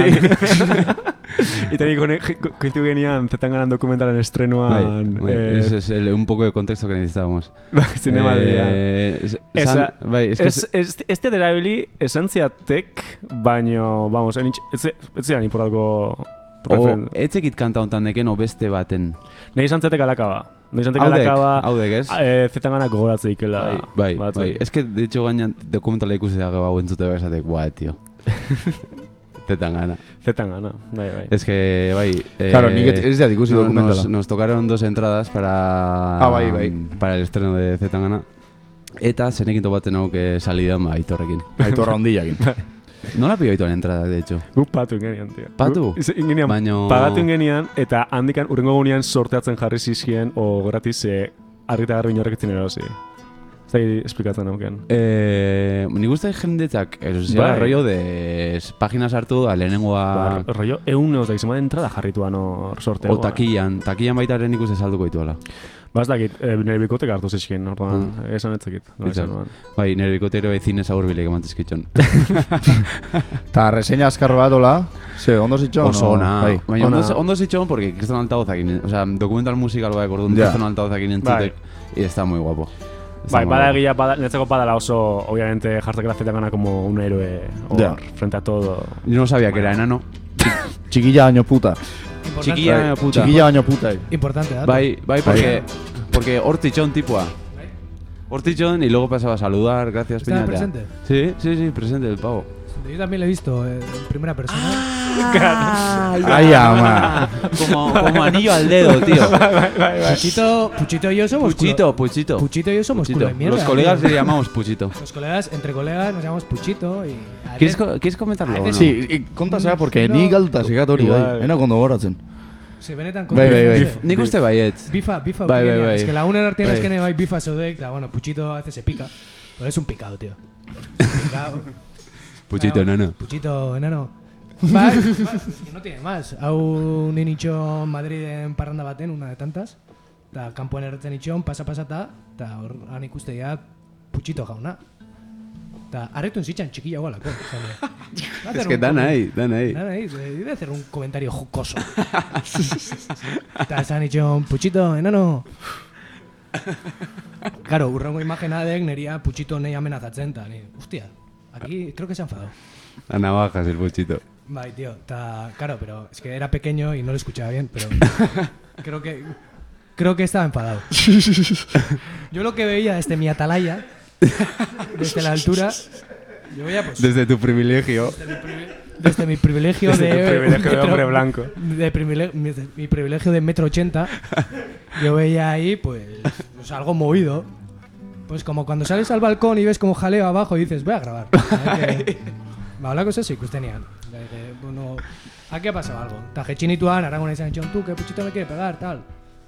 itani kone- ko- koinzitu genian zetan ganan dokumentalen estrenuan... Bai, eh, Bai, ese es el, un poco de contexto que necesitábamos. zinemaldian. Eh, es- Esa- san- bai, es que Ez, ez, ez te derabili esantziatek, baino, vamos, enitx, ez, ze- ez zidan importako o, referen. etzekit kanta hontan deken o beste baten. Nahi esantziatek alakaba. Nahi esantziatek Haudek, alakaba, haudek ez? eh, zetan ganak gogoratzeikela. Bai, batzuk. bai. Es que, de hecho, gainan dokumentala ikusi dago hau entzute bezatek, guai, tío. Zetan gana. Zetan gana, bai, bai. Es que, bai... Eh, Claro, nik ez- ez diat ikusi no- dokumentala. Nos, nos tocaron dos entradas para... Ah, bai, bai. Para el estreno de Zetangana. Eta zenekin topaten hau que salidan ba, Aitorrekin. Aitorra hondillakin. Nola pio Aitoren entrada, de hecho? Guk patu ingenian, tio. Patu? Guk- ze- ingenian, Baino- Pagatu ingenian, eta handikan urrengo gunean sorteatzen jarri zizkien, o gratis, eh, argi eta garbi inorrek etzin erosi. Ez da esplikatzen hauken. Eh, nik uste jendetzak, erosia, Bai. rollo de s- páginas hartu da lehenengoa... Ba, rollo, eun eus da izan entrada jarrituan hor sorteo. O takian, takian baita ere nik uste salduko dituela. Hmm. Ba, ez dakit, eh, nire bikotek hartu zizkien, orduan, esan ez dakit. nola Itxar. esan nuen. Bai, nire bikotero ezinez aurbilek emantizkitxon. Ta reseña azkar bat, hola. Ze, ondo zitxo? Oso ona. Bai, Baina ona. ondo, ondo zitxon, porque kriston altagozakin, o sea, dokumental musikal bai, orduan Ja. yeah. kriston altagozakin entzutek, y está muy guapo. Está Bai, muy bada guapo. egia, bada, netzako badala oso, obviamente, jartzak la zetangana como un héroe, hor, Ja. frente a todo. Yo no sabía que era enano. Txikilla baino puta. Txikia, baina puta. Txikilla baino puta. eh. Importante, dato. Bai, bai, porque, porque hortichón tipua. Hortichón y luego pasaba a saludar, gracias, ¿Estaba Peñatea. presente? Sí, sí, sí, presente el pavo. Yo también lo he visto eh, en primera persona. Ai, ama. como, como anillo al dedo, tío. Puchito, Puchito y yo somos Puchito, culo- Puchito. Puchito y yo somos culo de mierda. Los colegas tío. le llamamos Puchito. Los colegas, entre colegas, nos llamamos Puchito y... ¿Quieres, co- ¿quieres comentarlo? o no? Sí, i- konta zera, porque No. ni galduta zekat hori, bai. Ena kondo goratzen. Se benetan Bai, bai, bai. kontra- Nik uste eh. baiet. Bifa, bifa, Bai, bai, Eugenia. bai. Es que la una artean Bai. es que no hay bifa zeudek, da, bueno, Puchito a veces se pica. Pero es un picado, tío. Es un picado. Puchito, Claro, enano. Puchito enano. Bai, bai, es que no tiene más. Hau nien itxon Madriden parranda baten, una de tantas. Eta kanpoen erretzen itxon, pasa-pasata, eta hor han ikustea Puchito jauna. Eta arretun zitzan txikila gualako. Es que dan ahí, dan ahí. Nada, ahí, eh, iba a hacer un comentario jocoso. Eta esan itxon, Puchito, enano. Claro, urrengo imagena dek neria Puchito nahi amenazatzen, eta ni, hostia, aquí creo que se ha enfadado. A navajas el Puchito. Bai, tío, eta, claro, pero es que era pequeño y no lo escuchaba bien, pero creo que, creo que estaba enfadado. Yo lo que veía desde mi atalaya, desde la altura, yo veía pues... Desde tu privilegio. desde mi privilegio Desde de tu privilegio de metro- hombre blanco. de privile- mi, de- mi privilegio de metro ochenta yo veía ahí pues, pues, algo movido Pues como cuando sales al balcón y ves como jaleo abajo y dices, voy a grabar. A ver qué- Ba, holako zer ikustenean. Da, de, Bueno, aquí ha pasado algo. Ta jetxinituan, aragon izan etxon, tú, que puchito me quiere pegar, tal.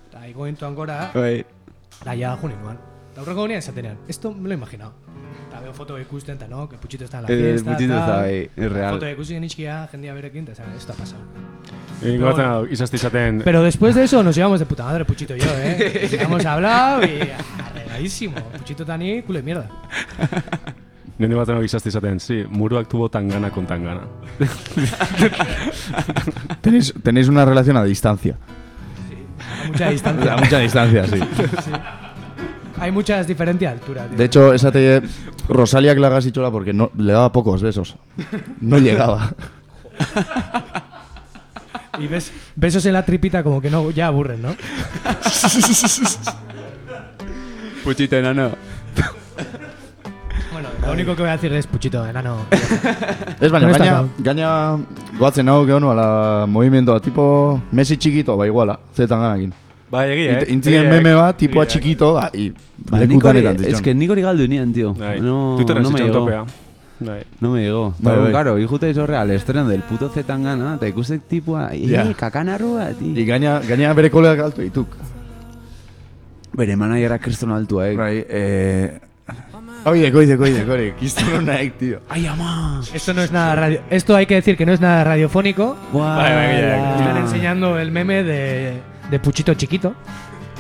Ta igoentuan gora, Bai. da ja juninuan. Ta aurreko gunean esatenean, esto me lo he imaginado. Ta veo foto ikusten, ta no, que puchito está en la Eh, fiesta, Puchito tal. está ahí, es real. Foto ikusi genitxkia, jendia berekin, ta esan, esto ha pasado. Ingo batzen hau, izazte izaten... Pero después de eso nos llevamos de puta madre, Puchito y yo, ¿eh? Hemos hablado y arregladísimo. Puchito Tani, culo de mierda. Nende batzen hau izazte izaten, zi, muruak tubo tangana con tangana. Tenéis, tenéis una relación a distancia. A mucha distancia. A mucha distancia, sí. Hay muchas diferentes alturas. tío. De hecho, esa te... Rosalia que la hagas y chola porque no, le daba pocos besos. No llegaba. Y ves, besos en la tripita como que no, ya aburren, ¿no? Puchito enano. Bueno, lo único que voy a decir es Puchito, enano. Ez baina, Non ez gaina, daukat. gaina goatzen hau geho nuala movimendoa, tipo Messi txikito, ba iguala, zetan ganakin. Bai, egia, Int- Intzien eh. eh. meme bat, tipoa txikito, da, i, Ba, nik lekutan hori- edan es que nik hori galdu nian, tío. Bai, No, Twitterren no me zitzan llegó. topea. Bai. No me llegó. Bai, Pero bai. claro, hijuta izorrea al estreno del puto Zetangana, eta ikuste tipua, Ja. eh, kakanarroa, I tío. gaina, gaina bere koleak altu dituk. Bere managerra kriston altua, eh. Bai, eh... Oide, koide, koide, koide, kizten honaik, tío. Ai, ama! Esto no es nada radio. Esto hay que decir que no es nada radiofónico. Ah, Guau. Bai, bai, bai. Están enseñando eh, el meme de, de Puchito chiquito.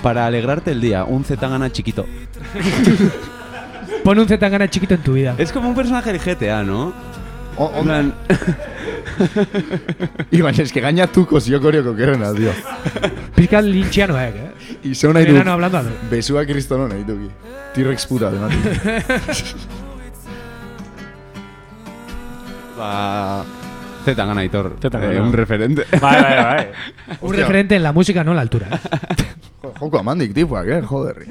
Para alegrarte el día, un Zetangana chiquito. Pon un Zetangana chiquito en tu vida. Es como un personaje de GTA, ¿no? O- En o- plan, I baina, eske gaina tuko zio koreoko kerena, tío. Pizka linchiano, eh. Izo nahi Enano duk, hablando. besua kriston hona dituki. T-Rex puta, demati. Ba... Zetangana Aitor. Zetangana. Eh, un referente. Bai, bai, bai. Un referente en la música, no en la altura. Jo- Joko amandik tipuak, eh, joder.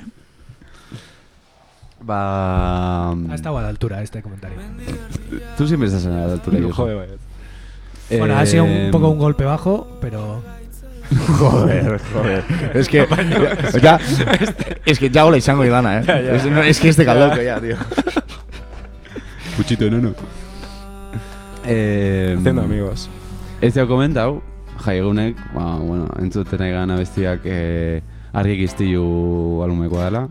Ba... mm, Ha estado a la altura este comentario. Tú siempre estás en la altura. Joder. Jode, bai. Eh, Bueno, ha sido em, Em, un poco un golpe bajo, pero. Joder, joder. Es que, ya, Este- es que ya hola izango idana, eh. Es, no, es que este calor ya, tío. Puchito enano. Eh, Zendo, amigos. Ez jau komentau, jaigunek, ba, bueno, entzuten egan abestiak eh, argi giztiu alumekoa dela.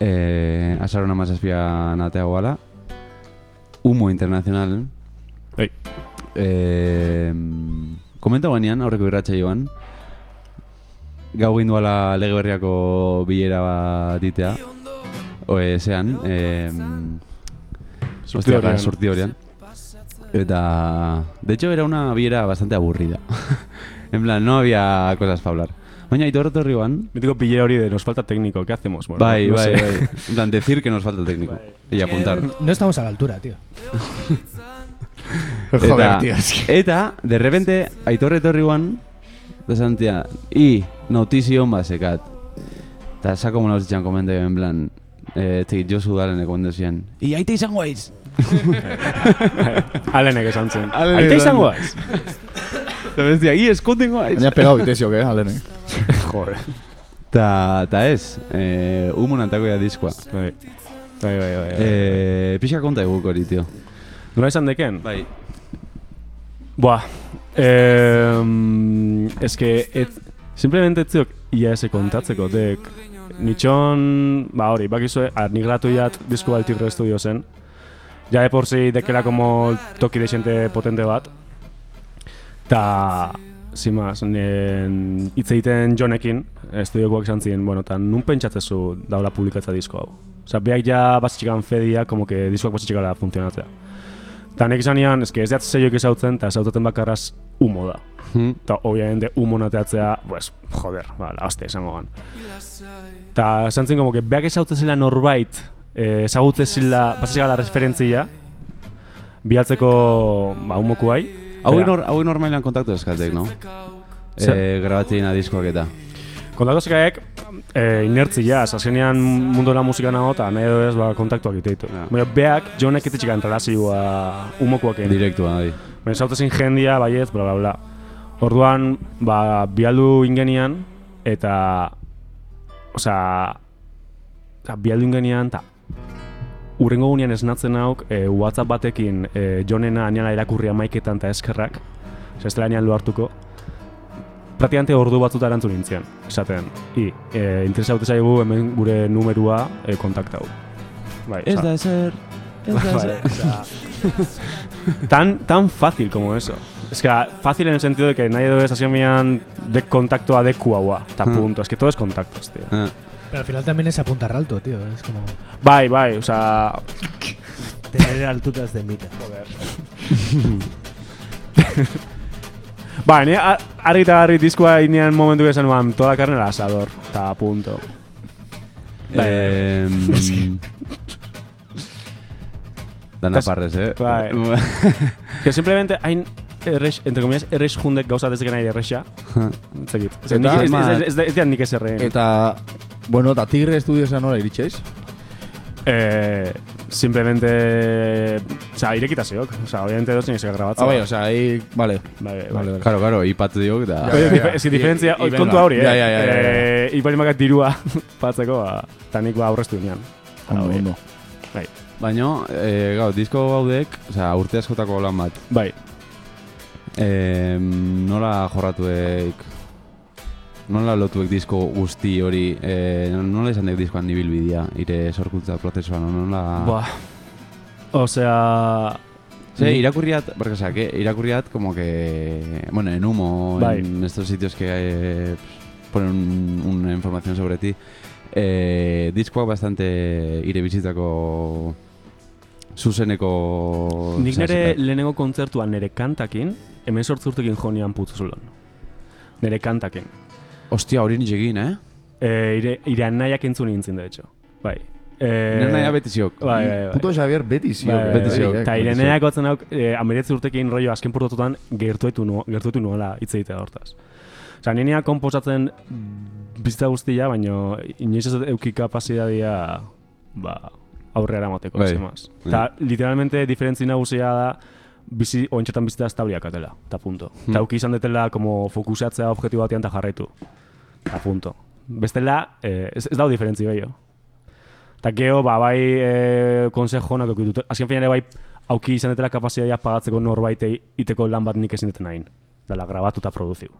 Eh, azaron amazazpian atea guala. Humo Internacional. Ei. Eh, komenta guanean, aurreko irratxa joan. Gau ginduala lege berriako bilera bat itea. Oe, zean, eh, Surtidorian. hostia, surti horian. Eta... De hecho, era una viera bastante aburrida. en plan, no había cosas para hablar. Baina, Aitor Torri ban... Mítico pillé hori de nos falta técnico, ¿qué hacemos? Bueno, bai, no bai, sé. bai. En plan, decir que nos falta el técnico. Y apuntar. No estamos a la altura, tío. Joder, tío, es que. eta, de repente, Aitor Torri ban... De Santia, y notizion basekat. Eta sako mona usitzen komende, en plan... Eh, este, Josu dalen ekomende zian. I aite izango aiz! Alenek esan zen. Alenek Aita esan izango du. aiz. Eta bestia, i eskontengo aiz! Baina pegado itesio, que, alen, eh. Joder. Ta, ta ez, eh, humon antako ya diskoa. Bai, bai, bai. bai. Eh, pixka konta eguk hori, tio. Nola esan deken? Bai. Buah. Eh, es que et, simplemente etziok IAS kontatzeko dek. Nitxon, ba hori, bakizue, arnigratu jat disko balti estudio zen. Ja de por si dekela como toki desente potente bat. Ta, sin más, nien hitz egiten Jonekin, estudiokoak esan ziren, bueno, eta nun pentsatzezu daula publikatza disko hau. Osa, beak ja basitxikan fedia, como que diskoak basitxikala funtzionatzea. Ta nik esan nian, eske ez diat seioik ezautzen, eta ezautaten bakarraz humo da. Eta, obviamente, humo nateatzea, pues, joder, ba, aste esango gan. Eta, esan zen, como que beak ezautzen zela norbait, eh, ezagutzen zela, pasizigala referentzia, bihaltzeko, ba, humokuai. Hau Bera, nor, hau normailan kontaktu eskatek, no? Zer? Eh, grabatzeina diskoak eta. Kontaktu zekaek, e, inertzia, azkenean mundura musika nago eta nahi edo ez ba, kontaktuak ite ditu. Ja. Baina beak, jonek etxetik antarazioa humokoak egin. Direktua, bai. Baina zautu zin jendia, baiet, bla, bla, bla. Orduan, ba, bialdu ingenian, eta, osea, eta bialdun genian, eta urrengo gunean esnatzen hauk, e, WhatsApp batekin e, jonena aniala irakurria maiketan eta eskerrak, Osea, ez dela nian luartuko, praktikante ordu batzut arantzun nintzen, esaten, i, e, interesa haute zaigu hemen gure numerua e, kontaktau. Bai, Ez osea, da ezer, ez da Vale, ezer. o sea, tan, tan fácil como eso. Es que ah, fácil en el sentido de que nadie debe estación de contacto adecuado. Está Mm. punto. Es que todo es contactos, tío. Ah, Pero al final también es apuntar alto, tío. Es como Bye, bye. O sea, Tener alturas de mita. ba, ni ar- argi eta garri diskoa inean momentu esan nuan, toda la carne al asador. Está punto. eh, Dana Tas- parrez, eh? Bai. Que simplemente hay, errex, entre comillas, errex jundek gauza desde que nahi errexia. Ez dakit. Ez- Eta- nik- ez- ez- ez- Ez da nik ez erreen. Eta, bueno, eta Tigre Estudiosea nola iritxeiz? Eh, simplemente... O sea, irekita zeok. O sea, obviamente dos tienes que grabatzen. Ah, bai, osea, ahí, vale. Bai, bai. Vale, vale. Karo, karo, ipat diok da... Ja, ja, ja. Ez que diferentzia, I- oi, i- kontua hori, eh? Ja, ja, ja, ja, ja. Eh, Ipari makat dirua patzeko, ba, eta nik ba aurreztu nian. Ondo, bai. ondo. Bai, Baina, eh, gau, disko gaudek, osea, urte askotako lan bat. bai. Eh, nola jorratuek... Nola lotuek disko guzti hori, eh, nola izan dek diskoan nibilbidea, ire sorkuntza prozesuan, nola... Ba. Osea... Sí, irakurriat, porque o sea, que irakurriat como que, bueno, en humo, Bai. en estos sitios que eh, ponen un- una información sobre ti, eh, diskoak bastante ire bizitzako zuzeneko... Nik nire zazetak. lehenengo kontzertuan nire kantakin, hemen sortzurtekin jonian putuzulon. Nire kantakin. Ostia, hori nintxe egin, eh? Eh, ire, ire anaiak entzun nintzen, de hecho. Bai. Eh, Nire nahi abetiziok. Bai, bai, bai. Puto Xavier beti zio. Bai, beti bai, zio, bai. eh, Eta beti Ireneak batzen hauk, eh, ameretzi urtekin rollo azken portatutan gertuetu, nu, gertuetu nuela hitz egitea hortaz. Osa, nirea komposatzen bizitza guztia, baino inoiz ez dut euki kapazitatea ba, aurrera moteko, Bai. bai. zemaz. Eta, literalmente, diferentzi nagusia da, bizi, oentxetan bizitza estabiliak atela, eta punto. Hmm. Eta euki izan detela, como fokusatzea objektu batean eta jarraitu, eta punto. Bestela, eh, ez, ez dau diferentzi gehiago. Eta gero, ba, bai e, konsejo honak eduki dut. Azken finean ere bai auki izan detela kapazitatea pagatzeko norbaitei iteko lan bat nik ezin deten hain. Dala, grabatu eta produziu.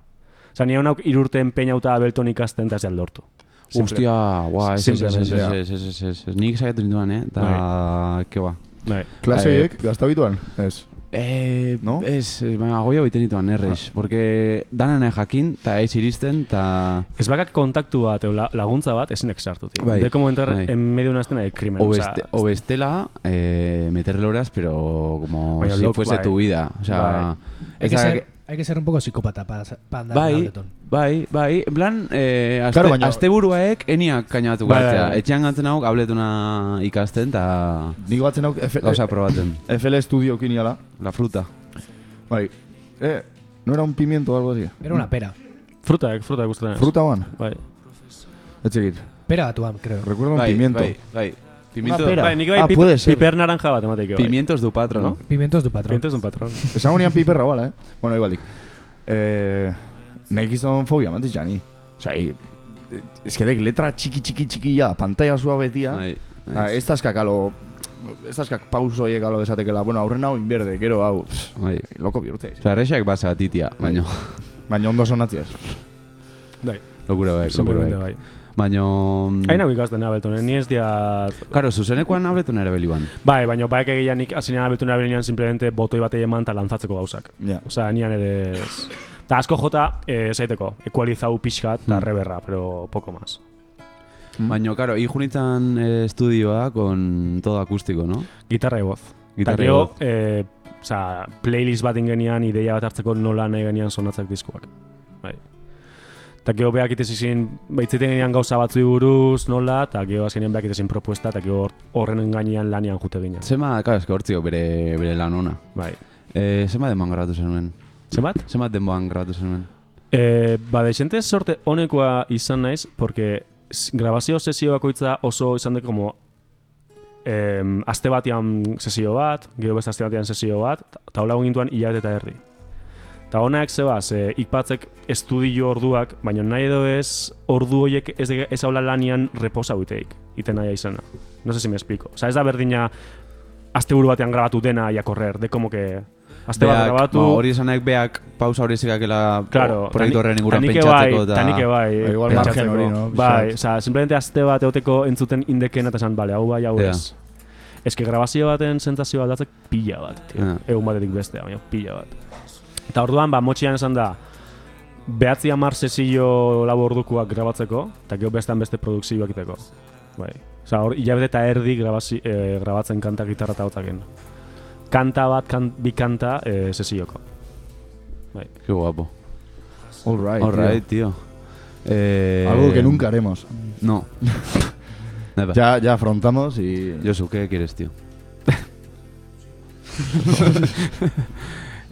Osa, nire honak irurte enpeinauta abelton ikasten eta ez dut lortu. Ostia, guau, ez, ez, Simple, ez, Bai. ez, simplea. ez, ez, ez, ez, ez, nik zaitu ninduan, eh? Da, ke ba. Bai. Klase horiek, gazta bituan? Ez. Eh, No? Ah. Ez, baina goia biten dituan errez, porque dana nahi jakin, eta ez iristen, eta... Ez bakak kontaktu bat, edo la- laguntza bat, ezinek sartu, tio. Bai. De como entrar Bai. en medio de una escena de crimen. O, osea, beste- o bestela, eh, meterle horas, pero como Baina si loco, fuese bai. tu vida. O sea, hay que, esa- ser, hay que ser un poco psicópata para, sa- para andar en Bai, Ableton. bai, bai, en plan, eh, azte, Claro, baina- asteburuaek eniak kainatu Bai, bai, bai, bai. Etxean gantzen hau, abletuna ikasten, eta Nik batzen hauk F- gauza probatzen. FL Studio kiniala. La fruta. Bai. Eh, no era un pimiento o algo así. Era una pera. Frutak, frutak gustatzen. naiz. Fruta ban. Bai. Etxekit. Pera batuan, creo. Recuerdo un pimiento. bai, bai. Pimiento, Una pera. Bai, nik bai Ah, pip- puede ser. piper naranja bat emateik. bai. pimientos du patro, no? Pimientos de patrón. Pimiento es un patrón. Esan unian piperra bala, eh? Bueno, ibalik. Eh, nahi gizon fobia mantiz jani. Osa, eh, es que dek letra txiki txiki txiki ja, pantalla sua betia. Bai, Ah, ez taskak alo, ez taskak pausoiek alo desatekela, bueno, aurren hau inberde, gero hau, pff, bai. loko bihurtzea Osa, errexak baza titia, baina, Baina ondo sonatziaz. Bai, lokura bai, lokura simplemente bai. bai. Baina... Hain hau ikasten abeltonen, ni ez diat Karo, zuzenekoan abletuna ere beliban. Bai, baina baek egia nik azinean abetu nahi nian simplemente botoi batei eman eta lantzatzeko gauzak. Ja. Osea, nian ere... ez. Ta asko jota, eh, zaiteko, ekualizau pixkat eta Mm. reberra, pero poco más. Baina, Mm. karo, hijo nintzen eh, estudioa con todo acústico, no? Gitarra egoz. Gitarra Gitarra egoz. egoz. Eh, osea, playlist bat ingenian, ideia bat hartzeko nola nahi genian sonatzak diskoak. Bai. Eta gero behak itezizin, baitziten genian gauza batzu buruz, nola, eta gero azkenean behak itezin propuesta, eta gero hor- horren gainean lanian jute ginen. Zema, karo, eske hortzio bere, bere lan ona. Bai. Eh, zema denboan grabatu zenuen? Zenbat? Zema denboan grabatu zenuen? E, ba, desente sorte honekoa izan naiz, porque s- grabazio sesio bakoitza oso izan deko como em, aste batean sesio bat, gero beste aste batean sesio bat, eta hola gintuan hilabete eta erdi. Eta honak zebaz, e, ikpatzek estudio orduak, baina nahi edo ez ordu horiek ez, dege- ez haula lanian reposa guiteik. iten nahi izena. No sé si me explico. Osa, ez da berdina asteburu batean grabatu dena ia correr, de como que aste bat Beak, grabatu... ba, hori esanek beak pausa hori zikakela Claro, proiektu horren inguruan tanike pentsatzeko bai, eta... Tanike bai, Ba, igual pentsatzeko. margen hori, no? Bai, Pixkat. oza, simplemente aste bat egoteko entzuten indekena eta esan, bale, hau bai, hau Ja. ez. Ez que grabazio baten sentsazioa aldatzek pila bat, tio. Ja. Egun batetik bestea, baina pila bat. Eta orduan, ba, motxian esan da, behatzi hamar sesio lau ordukoak grabatzeko, eta gero bestean beste produkzioak iteko. Bai. Osa, hor, hilabete eta erdi grabazi, eh, grabatzen kanta gitarra eta hotaken. Kanta bat, kan, bi kanta eh, sesioko. Bai. Qué guapo. All right. All right, tío. Eh, Algo que nunca haremos. No. Never. Ya, ya afrontamos y. Josu, ¿qué quieres, tío?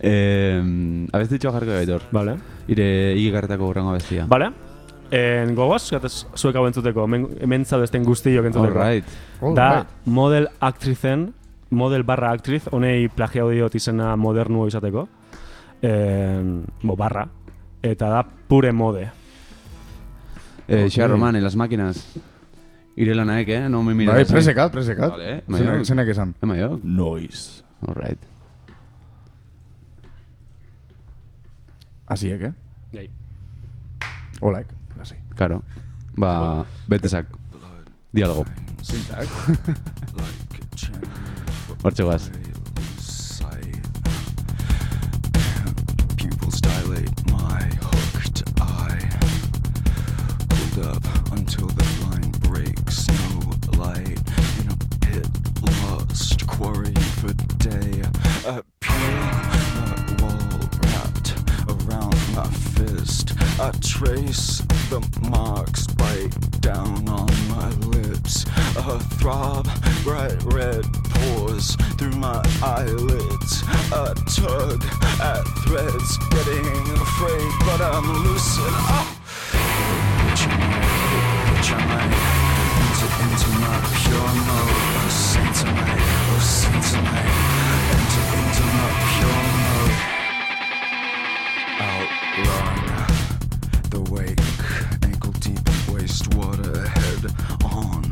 eh, habéis dicho jarko gaitor. Vale. Ire ikikarretako urrengo bestia. Bale? En gogoz, gatez zuek hau entzuteko, hemen, hemen zaudezten guztiok All entzuteko. right. Da, model actrizen, model barra actriz, honei plagiau diot izena modernu izateko. En, bo, barra. Eta da, pure mode. Eh, Xea Roman, en las máquinas. Ire lanaek, eh? No me miras Bai, así. presekat, presekat. Vale, bai, Zenak- maior. Zenak esan. Am I up? Noiz. bai. All right. Asiek, eh? Gai. Olaek. Asi. Claro. Ba, bete zak. Diálogo. Hortxe guaz. Pupils dilate, my hooked eye. Pulled up until the line breaks, no light. In a pit, lost, quarrying for day. A pure wall wrapped around my fist. I trace the marks bite down on my lips. A throb, bright red pours through my eyelids. A tug at threads, getting afraid, but I'm loosened up. Into, into my pure mode, oh Sentinel, oh Sentinel. Into, into my pure mode. Outrun the wake, ankle deep in wastewater, head on.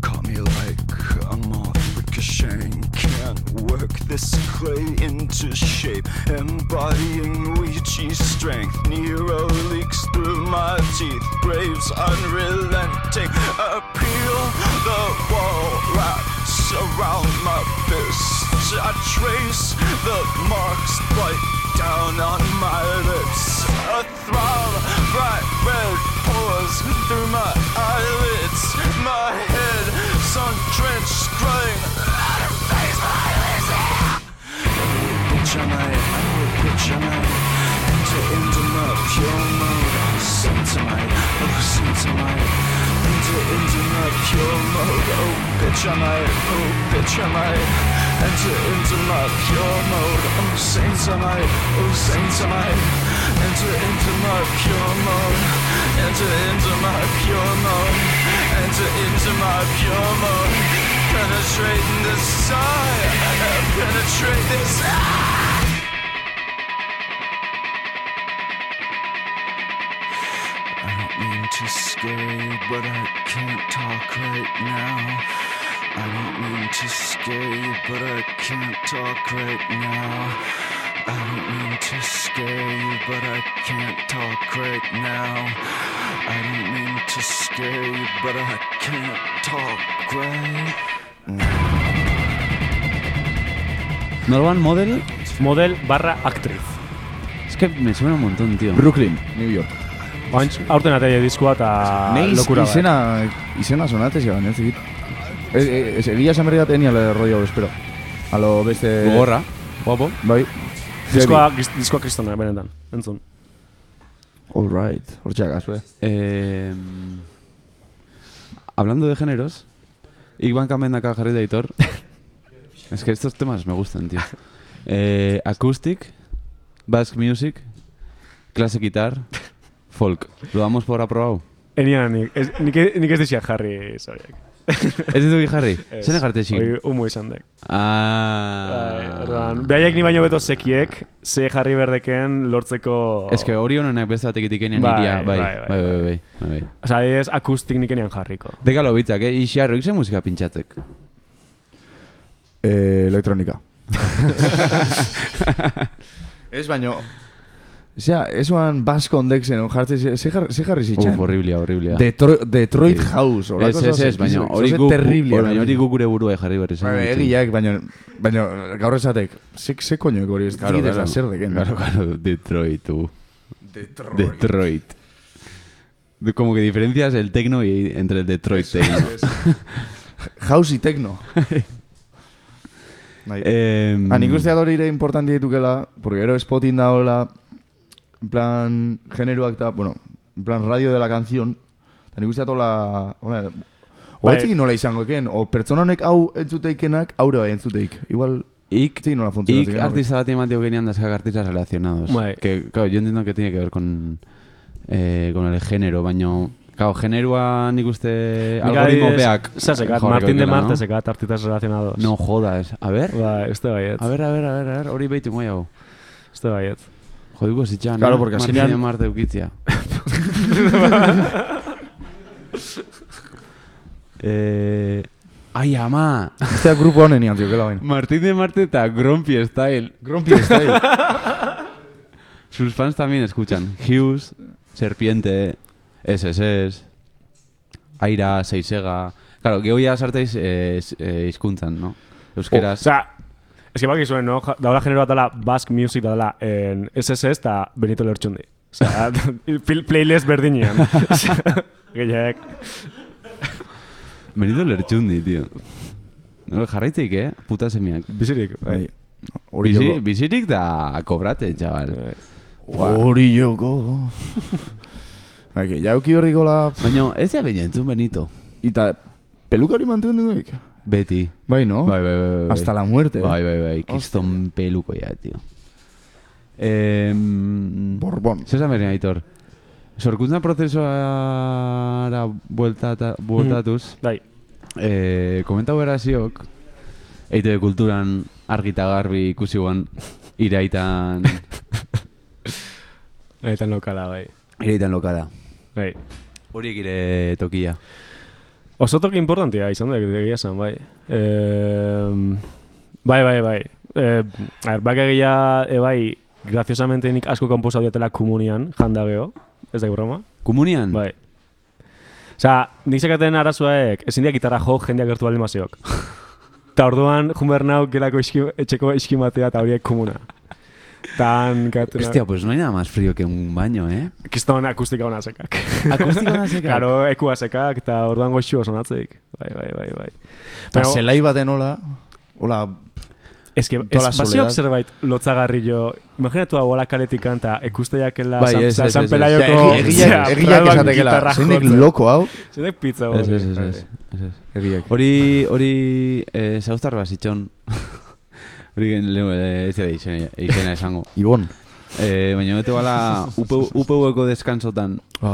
Caught me like a moth ricocheting. Can't work this clay into shape, embodying Ouija strength. Nero leaks through my teeth, graves unrelenting. Appeal the wall wraps around my fists. I trace the marks like down on my lips. A throb, bright red pours through my eyelids. My head, sun drenched, crying. "Out of face, my lizard!" I would picture my, I would picture my, enter into my pure mode. Oh, Sentinel, oh, Sentinel. Enter into my pure mode. Oh, bitch, am I? Oh, bitch, am I? Enter into my pure mode. Oh, saints am I? Oh, saints am I? Enter into my pure mode. Enter into my pure mode. Enter into my pure mode. Penetrating the side. Penetrate this. I don't mean to scare you, but I can't talk right now. I don't mean to scare you, but I can't talk right now. I don't mean to scare you, but I can't talk right now. I don't mean to scare you, but I can't talk right Norban Model, Model barra actriz. es que me suena un montón, tío. Brooklyn, New York. Oain, aurten atea diskoa Ah, eta Neiz bai. lokura bat. izena, izena sonate zegoen, ez egit. Ez, ez, egia esan berri bat enia le rollo, espero. A lo beste... Gogorra, guapo. Bai. Diskoa, diskoa kristona, benetan. Entzun. All right. Hortxeak azue. Eh, hablando de géneros, Iván Kamendaka jarri da Aitor. es que estos temas me gustan, tío. Eh, acoustic, Basque Music, Classic Guitar, Folk. Lo damos por aprobado. Enian, nik, ez, nik, nik ez dixia jarri, zoriak. Ez dituki jarri? Ez. Zenek arte txiki? Hoi, humo izan dek. Ah. Ordan, behaiek ni baino beto zekiek, ze jarri berdeken lortzeko... Eske hori honenak beste batek itikenian Bai, iria, bai, bai, bai, bai, bai, bai, bai, bai. Osa, ez akustik nikenian jarriko. Dekalo bitzak, eh? Ixiarroik ze musika pintxatek? Eh, elektronika. Ez baino... Osea, esuan baskon dekzen, on jartzi, ze ze jarri, ze jarri zitzen? Uf, horriblia, horriblia. Detro, Detroit Eh, House, Ez, ez, ez, baina hori guk, guk, terrible, baina hori guk gure burua jarri berri Ba, zen. Egiak, baina, baina gaur esatek, ze, ze koñoek hori ez Claro, dakit ez da claro. zer deken. Claro, claro, Detroit, uh. Detroit. Detroit. De- Como que diferencias el techno y entre el Detroit techno. House y techno. Bai. eh, Ah, nik uste dut hori ere importanti ditukela, porque gero spotin daola, en plan, generoak eta, bueno, en plan, radio de la canción, eta nik uste dut hola, hola, o Bai. etzik nola izango eken, o pertsona honek hau entzuteikenak, aura bai entzuteik. Igual, Ik, etzik nola Y funtzionatzen. artista bat emateo genian dazkak artistas relacionados. Bai. Que, claro, yo entiendo que tiene que ver con, eh, con el género, baino... Claro, generoa nik uste algoritmo beak. Zasekat, jorriko Martin de dutela, Marte no? zekat, artitas relacionados. No jodas. A ver, Ba, uste baiet. a ver, a ver, a ver, a ver, hori behitu moi hau. Uste baiet. Jodiko zitxan, Claro, eh? porque Martin azkenean- de Marte eukitzia. eh, ai, ama! Este grupo honen nian, tío, que la vaina. Martín de Marte está Grumpy Style. Grumpy Style. Sus fans también escuchan Hughes, Serpiente, SSS, Aira, Seisega... Claro, gehoia sarteiz eh, s- eh, hizkuntzan, no? Euskeraz. Osea, ez que bakizuen, no? Ja- Daula genero bat dala Basque Music da dala en SSS eta Benito Lertxundi. Osea, pil- playlist berdinean. Osea, Gehiak. Benito Lertxundi, tío. No, jarraitik, eh? Puta semiak. Bizirik. Bai. Hori Bizi, joko. bizirik da kobrate, chaval. Hori joko. Baina, jauki horriko la... Baina, ez da baina entzun Benito. Eta, peluka hori mantendu duik? Beti. Bai, no? Bai, bai, bai, bai. Hasta la muerte. eh? Bai, bai, bai. Kiston pelukoia, tío. Eh, Borbón. Zer esan berina, Aitor? Sorkuntzan prozesuara bueltata, bueltatuz, Bai. eh, komentau beraziok, eite kulturan argita garbi ikusi guan iraitan, Eta lokala, bai. iraitan lokala. Bai. Horiek ire tokia. Oso toki importantia izan da, egia esan, bai. Em, bai, bai, bai. Eh, a ver, bak egia, e, bai, graciosamente nik asko kanposa diotela komunian, janda geho, ez da broma. Komunian? Bai. Osea, nik zekaten arazoek, ezin dira gitarra jo jendeak gertu baldin bazeok. Ta orduan, jumber nau gelako iski, etxeko iskimatea eta horiek komuna. Tan, katu Hostia, pues no hay nada más frío que un baño, ¿eh? Kiston akustika hona sekak. Akustika ona sekak? Karo, ekua sekak, eta orduan goxu oso natzik. Bai, bai, bai, bai. Eta Baina- zelai baten hola, hola, Ez que, Toda la ez, baziok soledad. zerbait lotzagarri jo. Imaginatu hau hola kaletik kanta, ekusteak ela Bai, San, ez, San- ez, San ez, ez. Pelaioko... Egia- egiak egiak esatekela, zeinek loko hau, Zenek pizza Ez, hori. ez, ez, ez, ez, ez. egiak. Hori, hori, eh, zauztar basitxon. hori gen, lehu, eh, ez dira izena, izena esango. Ibon. Eh, baina bete bala, UPV-eko deskansotan.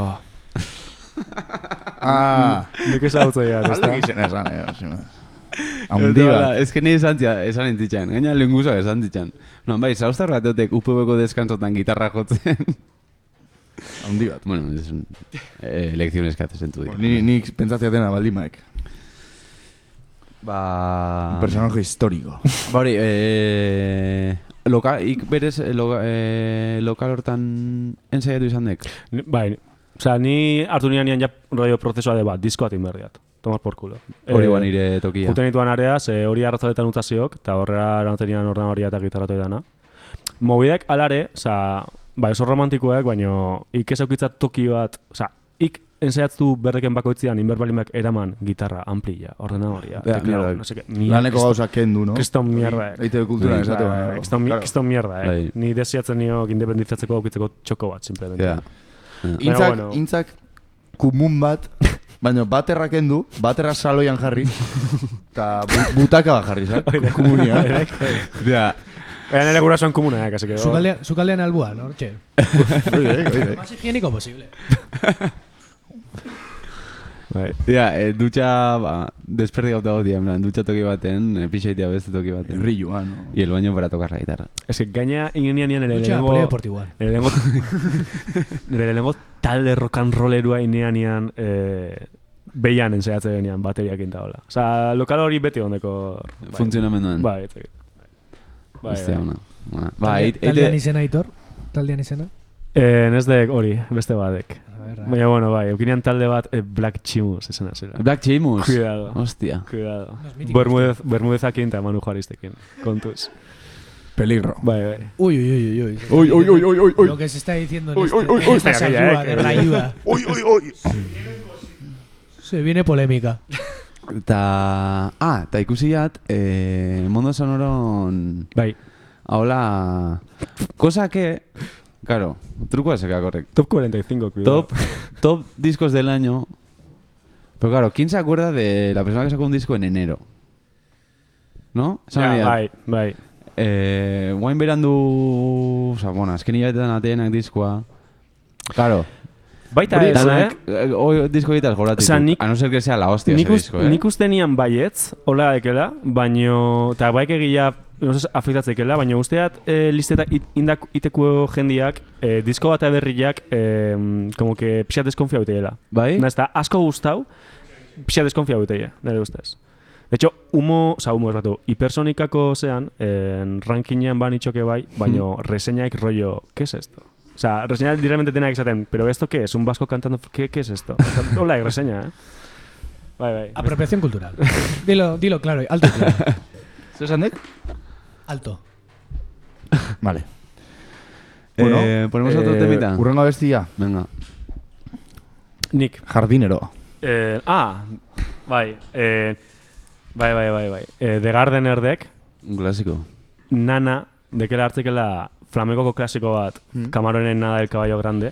Ah. Ah. Nik ez hau zeian, ez Alde da? gizena esan, eh, osina. Bete Haundi bala, bat. Ez que nire esan zia, esan entzitzen, gaina lenguza esan zitzan. Non, bai, zauztar bat eutek UPV-eko deskansotan gitarra jotzen. Haundi bat. bueno, es un, eh, lekziones que haces en tu día. Ni, nik pentsatzea dena baldimaek. Ba... Personaje historiko. Ba hori, eh, loka, ik berez eh, loka, eh, lokal hortan ensaiatu izan dek. Ni- Bai, osea, ni hartu nian nian ja radio prozesua de bat, disko bat inberdiat. Tomar por culo. Hori Eh, guan nire tokia. Juten nituen area, ze hori arratzaletan utaziok, eta horrela erantzen nian ordan hori eta gitarratu edana. Mobideak alare, oza, bai oso romantikoak, baino ik ezaukitzat toki bat, oza, ik ensaiatu berdeken bakoitzean inberbalimak eraman gitarra, amplia, ordena hori, Ja, teclado, mierda. no sé qué. Laneko gauza kendu, no? Kriston mierda. eh. Eite de kultura Bai, esate baina. Kriston mi- Claro. kriston mierda, eh? Bai. Ni desiatzen niok independizatzeko aukitzeko txoko bat, simplemente. Ja. Intzak, bueno. intzak, kumun bat, baina baterra kendu, baterra saloian jarri, eta bu- butaka bat jarri, zak? Komunia. Ja, Eran ere gurasoan komuna, eh, kasi que... Zukaldean, zukaldean albuan, hor, txe. Oidek, oidek. Más higiénico posible. Bai. Ja, e, dutxa, ba, desperdigauta hau dira, en plan, dutxa toki baten, e, pixaitia beste toki baten. Rilluan. No? Y el baño para tocar la guitarra. Ez que gaina ingenian nire Dutxa lehenengo... polideportiboan. Nire lehenengo... nire lehenengo talde rokanrolerua inean ean... Eh, Beian ensaiatzen genean bateriak inta hola. Osa, lokal hori beti ondeko... Bai, Funtzionamenduan. Bai, ez dakit. bai. Hostia, ona. Ah, Ba, ba, Talde- eit- Taldean eite- izena, Aitor? Taldean izena? Eh, ez dek hori, beste batek. ber, a Baina, bueno, bai, eukinean talde bat eh, Black Chimus izena zela. Black Chimus? Cuidado. Hostia. Cuidado. Los míticos. Bermudez, Bermudezakin eta Manu Juaristekin. Kontuz. Peligro. Bai, bai. Uy, uy, uy, uy, uy. Uy, uy, uy, uy, uy, uy. Lo que se está diciendo en Uy, este, uy, uy, en uy. esta Venga, que ya, saliva eh, de que- rayuda. Uy, uy, Oh, uy. Se viene polémica. Ta... Ah, ta ikusi jat, eh, mondo sonoron... Bai. Hola... Cosa que... Claro, trukoa seka correcto. Top 45, cuidado. Top, top discos del año. Pero claro, ¿quién se acuerda de la persona que sacó un disco en enero? ¿No? Esan nahi Ja, dat. bai, bai. Eh, guain berandu... Osa, bueno, azken hilabetetan atenak diskoa. ah. Claro. Baita ez, eh? eh? Oi, disko egitaz goratik. Osea, nik- A no ser que sea la hostia Nik, ese ust, disco, eh? nik uste nian baietz, hola ekela, baino, eta baik egia, no zez, afektatzekela, baino usteat e, listetak it, indak, iteko jendiak, e, disko bat berriak, e, como que pixat deskonfia buteela. Bai? Na, eta asko gustau, pixat deskonfia buteia, nire ustez. De hecho, humo, oza, humo esbatu, hipersonikako zean, en, rankinean ban itxoke bai, baino reseñaik rollo, ¿qué es esto? O sea, reseña directamente tiene que esaten, pero esto qué es, un vasco cantando, ¿qué, qué es esto? Hola, reseña, eh? Bai, bai. Apropiación cultural. Dilo, dilo claro, y alto. y claro. Zer esan dek? Alto. Vale. Eh, ponemos otro temita. Urrengo abestia. Venga. Nik. Jardinero. Eh, ah, bai. Eh, bai, bai, bai, bai. Eh, The Gardener dek, Un clásico. nana, dekela hartzekela flamenkoko klasiko bat, Mm. Camaronen nada del caballo grande,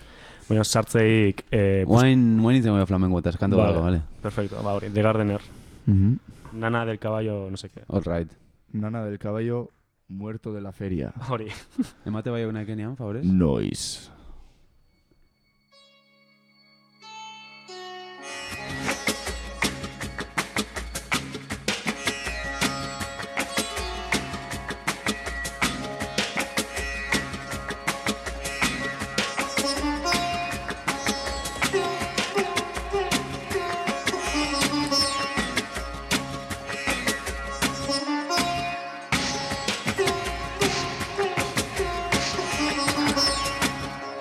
baina sartzeik... Eh, pues bus- Guain, guain itzen goia flamengo eta eskanto Vale, vale. vale. Perfecto, ba hori, The Gardener. Mhm. Nana del caballo, no sé qué. All right. Nana del caballo muerto de la feria. Hori. Emate bai eguna ekenian, favorez? Noiz. Thank you.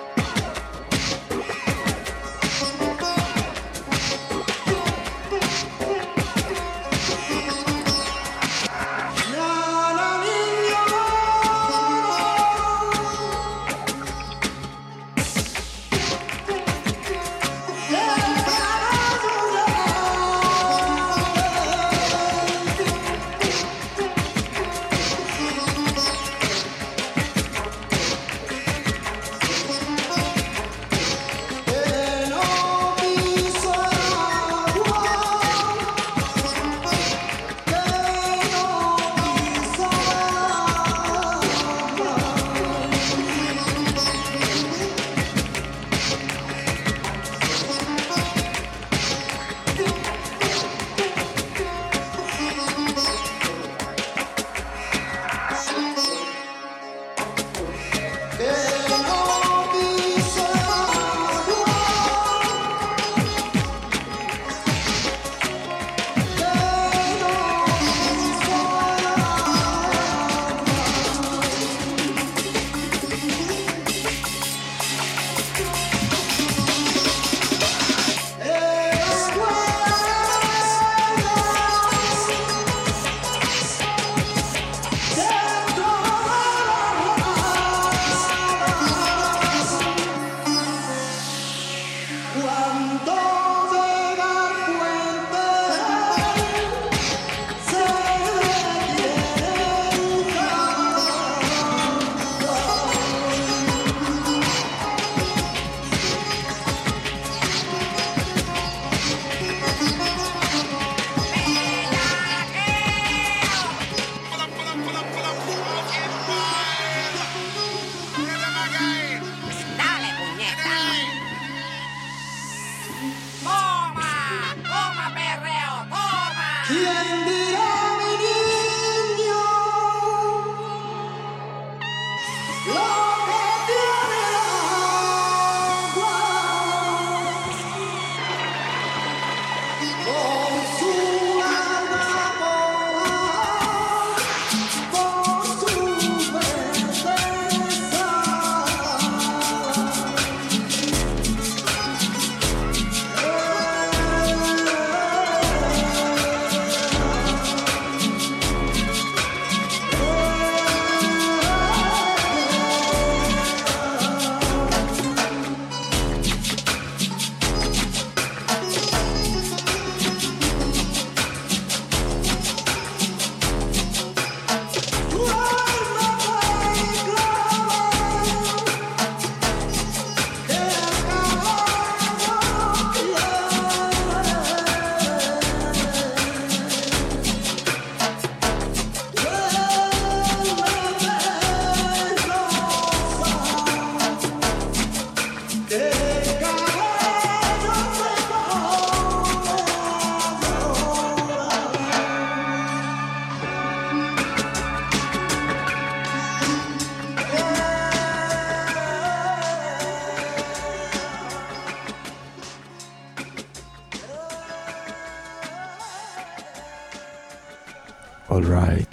right.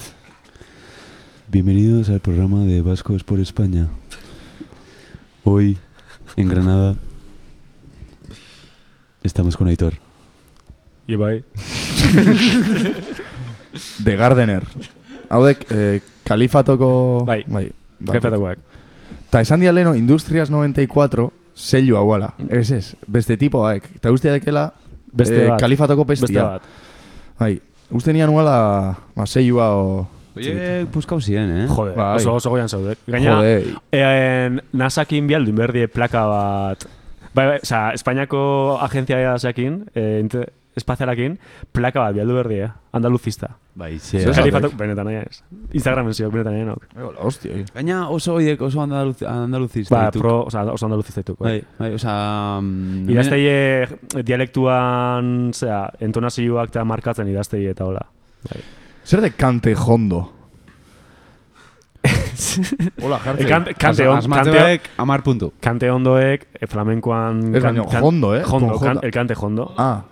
Bienvenidos al programa de Vascos por España. Hoy, en Granada, estamos con Aitor. Y bai. The Gardener. Haudek, eh, kalifatoko... Bai. Kalifatokoak. Ta esan dia leno, Industrias 94 sello hauala. Ez ez, beste tipo haek. Ta uste dekela Mm. Beste bat. kalifatoko pestia. Beste bat. Bai. Uste nian huala, ma, seioa o... Oie, puskau ziren, eh? Jode, Bai. oso, oso goian zaude. Gaina, Jode. en, NASAkin bialdu inberdie plaka bat... Bai, bai, oza, Espainiako agentzia zakin, eh, inter, espazialakin, plaka bat bialdu berdie, eh? andaluzista. Bai, ze- Zer Zer Kalifatok, esatek? benetan nahi ez. Instagramen ziok, benetan eh, nahi nok. Bai, Hostia. eh. Gaina oso oiek oso andaluz, andaluzista. Ba, dituk. pro, oza, oso andaluzista dituk. Bai, bai, oza... mm, Idazteie eh, dialektuan, zera, entonazioak eta markatzen idazteie eta hola. Bai. Zer de kante jondo? Hola, jartzen. Kante, kante, on, Asmatze kante, baek, amar puntu. kante ondoek, eh, flamenkoan... Ez baino, jondo, eh? Jondo, Con kan, jota. el kante jondo. Ah.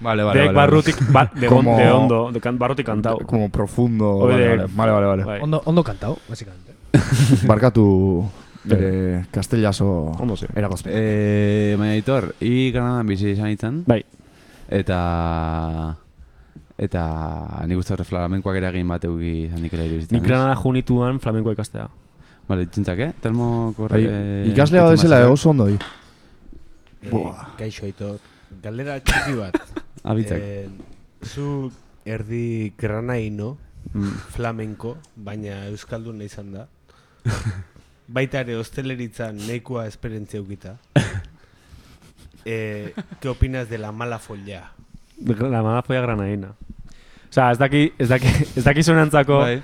Vale, vale, Dek vale. barrutik, vale. ba, de, Como- on, de ondo, de kan, barrutik kantau. Como profundo. Oye, Vale, vale, vale, vale. vale. Bai. Ondo, ondo kantao, basicamente. Barkatu bere castellaso Ondo ze. eragozpen. Eh, baina Aitor, hi Granadan bizi izan itzan. Bai. Eta... Eta nik uste horre flamenkoak eragin bat euki izan dikela iruditzen. Nik granada junituan flamenko ikastea. Vale, txintzak, eh? Telmo korre... Bai, eh, Ikaslea Aitor bezala Mazarek. oso ondo bai. di. Buah. Eh, Kaixo Aitor, galdera txiki bat. Abitzak. Eh, zu erdi granaino, Mm. flamenko, baina euskaldun izan da. Baita ere hosteleritzan nahikoa esperientzia ukita. Eh, ¿Qué opinas de la mala folla? La mala folla granadina. Osa, ez daki, ez daki, ez daki zonantzako... Bai.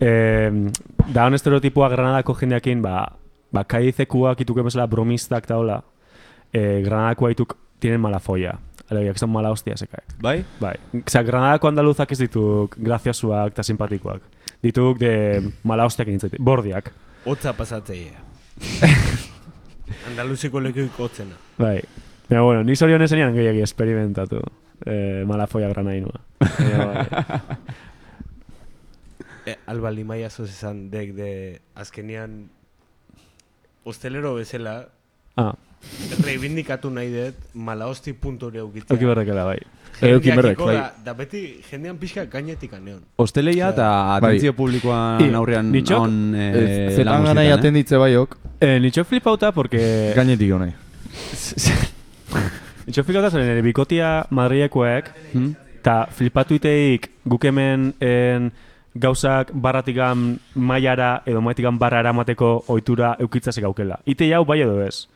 Eh, da hon estereotipoa granadako jendeakin, ba, ba kaizekuak ituke bezala bromistak eta hola, eh, granadako haituk tienen mala folla. Alegia, que son mala hostia sekaek. Bai? Bai. Osea, granadako andaluzak ez dituk graziasuak eta simpatikoak. Dituk de mala hostiak nintzete, bordiak. Otza pasatzeia. Andaluziko lekuik otzena. Bai. Baina, bueno, ni zorion esenean gehiagi esperimentatu. Eh, mala folla granainua. Baina, bai. E, Alba Limaia zoz esan dek de azkenean hostelero bezala ah, reivindikatu nahi dut malaosti puntu hori aukitzea. euki berrekela, bai. Jendeak berrek, ikola, bai. Da beti jendean pixka gainetik aneon. Hosteleia eta Bai. atentzio I- Eh, publikoan aurrean nitxok, on eh, lan Zetan guztietan, ganai eh? atenditze baiok, Eh, nitxo flipauta, porque... gainetik honai. Itxo fikata zen, nire bikotia Madrilekoek, eta flipatu iteik guk hemen en, gauzak barratikan mailara edo maitikan barrara mateko ohitura eukitzase gaukela. Ite jau bai edo ez,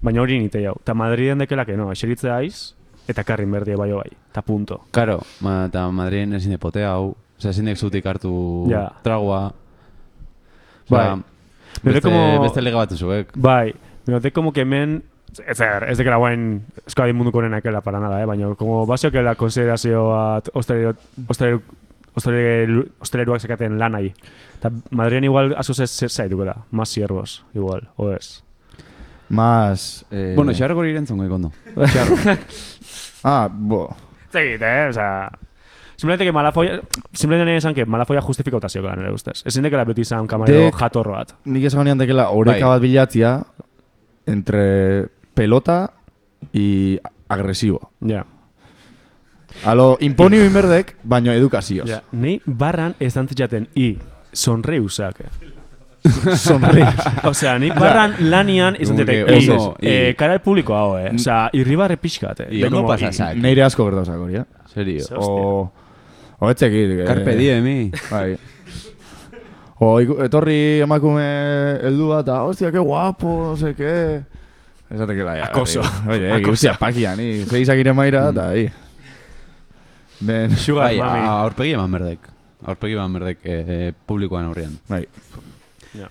baina hori nite jau. Ta Madriden dekelak, no, eseritzea aiz, eta karrin berdie bai bai, eta punto. Karo, ma, eta Madrien ezin de potea hau, oza, ezin dek zutik hartu Ja. tragoa. Bai. Beste, Nire como- beste lega bat zuek. Bai, note como que hemen, ez er, ez dekela guain euskadi munduko nenakela para nada, eh? baina como baseokela konsiderazio bat hostelero, hostelero, hostelero, hosteleroak sekaten lan nahi. Eta Madrian igual asoz ez zer zaitu gara, mas siervos, igual, o ez. Mas... Eh, Bueno, xarrako hori erantzun gaik ondo. Ah, bo. Zegit, eh? Osa, simplemente que Malafoya, simplemente nire esan que Malafoya justifikautazioa nire ustez. Ezin dekela beti izan kamarero Dek- jatorro bat. Nik esan honean dekela oreka Bai. bat bilatzia entre pelota y agresivo. Ja. Alo, imponio inberdek, baino edukazioz. Ja. Ni barran ez dantzitzaten i sonreusak. Sonreír. Osea, ni barran lanian izan dut. Como que oso, i- i- eh, Cara el público hau, eh. Osea, irribarre pixkat, eh. I De ondo como, pasa i- zak. Neire asko gertauzak hori, eh? Serio. O... O etzekit. eh, Carpe diem, mi. Bai. O iku- etorri emakume heldu bat, eta, hostia, que guapo, no sé qué. Esatekela, ja. Acoso. Oye, eh, hostia, pakian, ni. Zeizak ire maira, Mm. eta, hi. Ben, Sugar Bai, mami. a- aurpegi eman berdek. Aurpegi eman berdek eh, eh, publikoan aurrean. bai.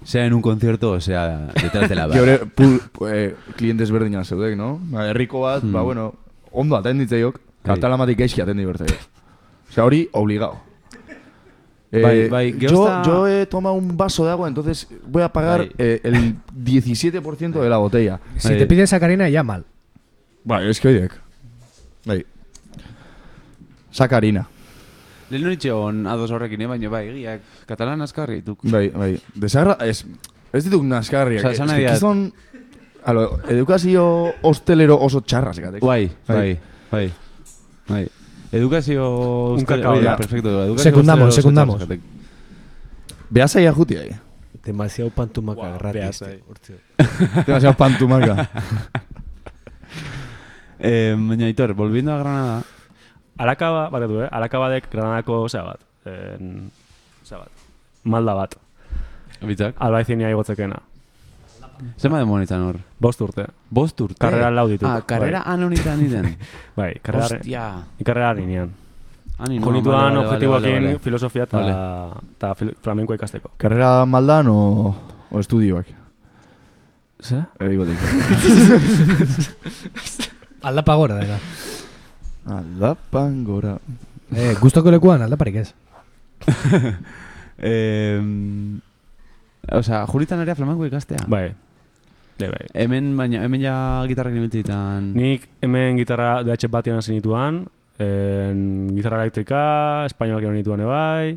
Sea en un concierto, o sea, detrás de la Ki hori, barra. pu, pu, eh, klientes berdina zeudek, no? Ba, herriko bat, ba, bueno, ondo atenditzeiok, Mm. Bai. katalamatik gaizki atendi bertzeiok. Osea, hori, obligao. Eh, Bai, bai, gero yo, Ah. está- yo he tomado un vaso de agua, entonces voy a pagar Bai. eh, el 17% de la botella. Eh, Si te Bai. pides sacarina, ya mal. Bai, eski horiek. Bai. Sakarina. Lehen hori txon ados horrekin, eh? baina bai, egiak, katalan askarri duk. Bai, bai. Desagra, ez, ez dituk naskarriak. Osa, eh. esan Ez nahi que dat. Gizon, alo, edukazio hostelero oso txarraz gatek. Bai, bai, bai. bai. Edukazio... Un euskal- kakao hori da, da. Perfecto, edukazio Secundamos, euskal- secundamos. Behazaia juti ahi. Demasiado pantumaka wow, gratis. Bai, behazai. Demasiado pantumaka. eh, baina, Aitor, volviendo a Granada... Alakaba, barkatu, eh? Alakabadek Granadako, osea bat. En, osea bat. Malda bat. Bitzak. Albaizenia igotzekena. Zema demon izan hor? Bost urte. Bost urte? Karrera lau ditut. Ah, karrera han honetan iten. Bai, karrera... Hostia. Karrera ninean. Ani, no, Junituan vale, vale, objetiboakin vale, vale. filosofia eta Vale. ta fil- flamenkoa ikasteko. Karrera maldan o, o estudioak? Zer? Eri batik. Aldapa gora dela. Aldapan gora. Eh, gustoko lekuan aldaparik ez. eh, Osa, juritan ere flamenko ikastea. Bai. De, bai. Hemen, baina, hemen ja gitarrak nibiltzitan... Nik hemen gitarra DH batean hasi nituan, en, gitarra elektrika, espainolak egon nituan ebai,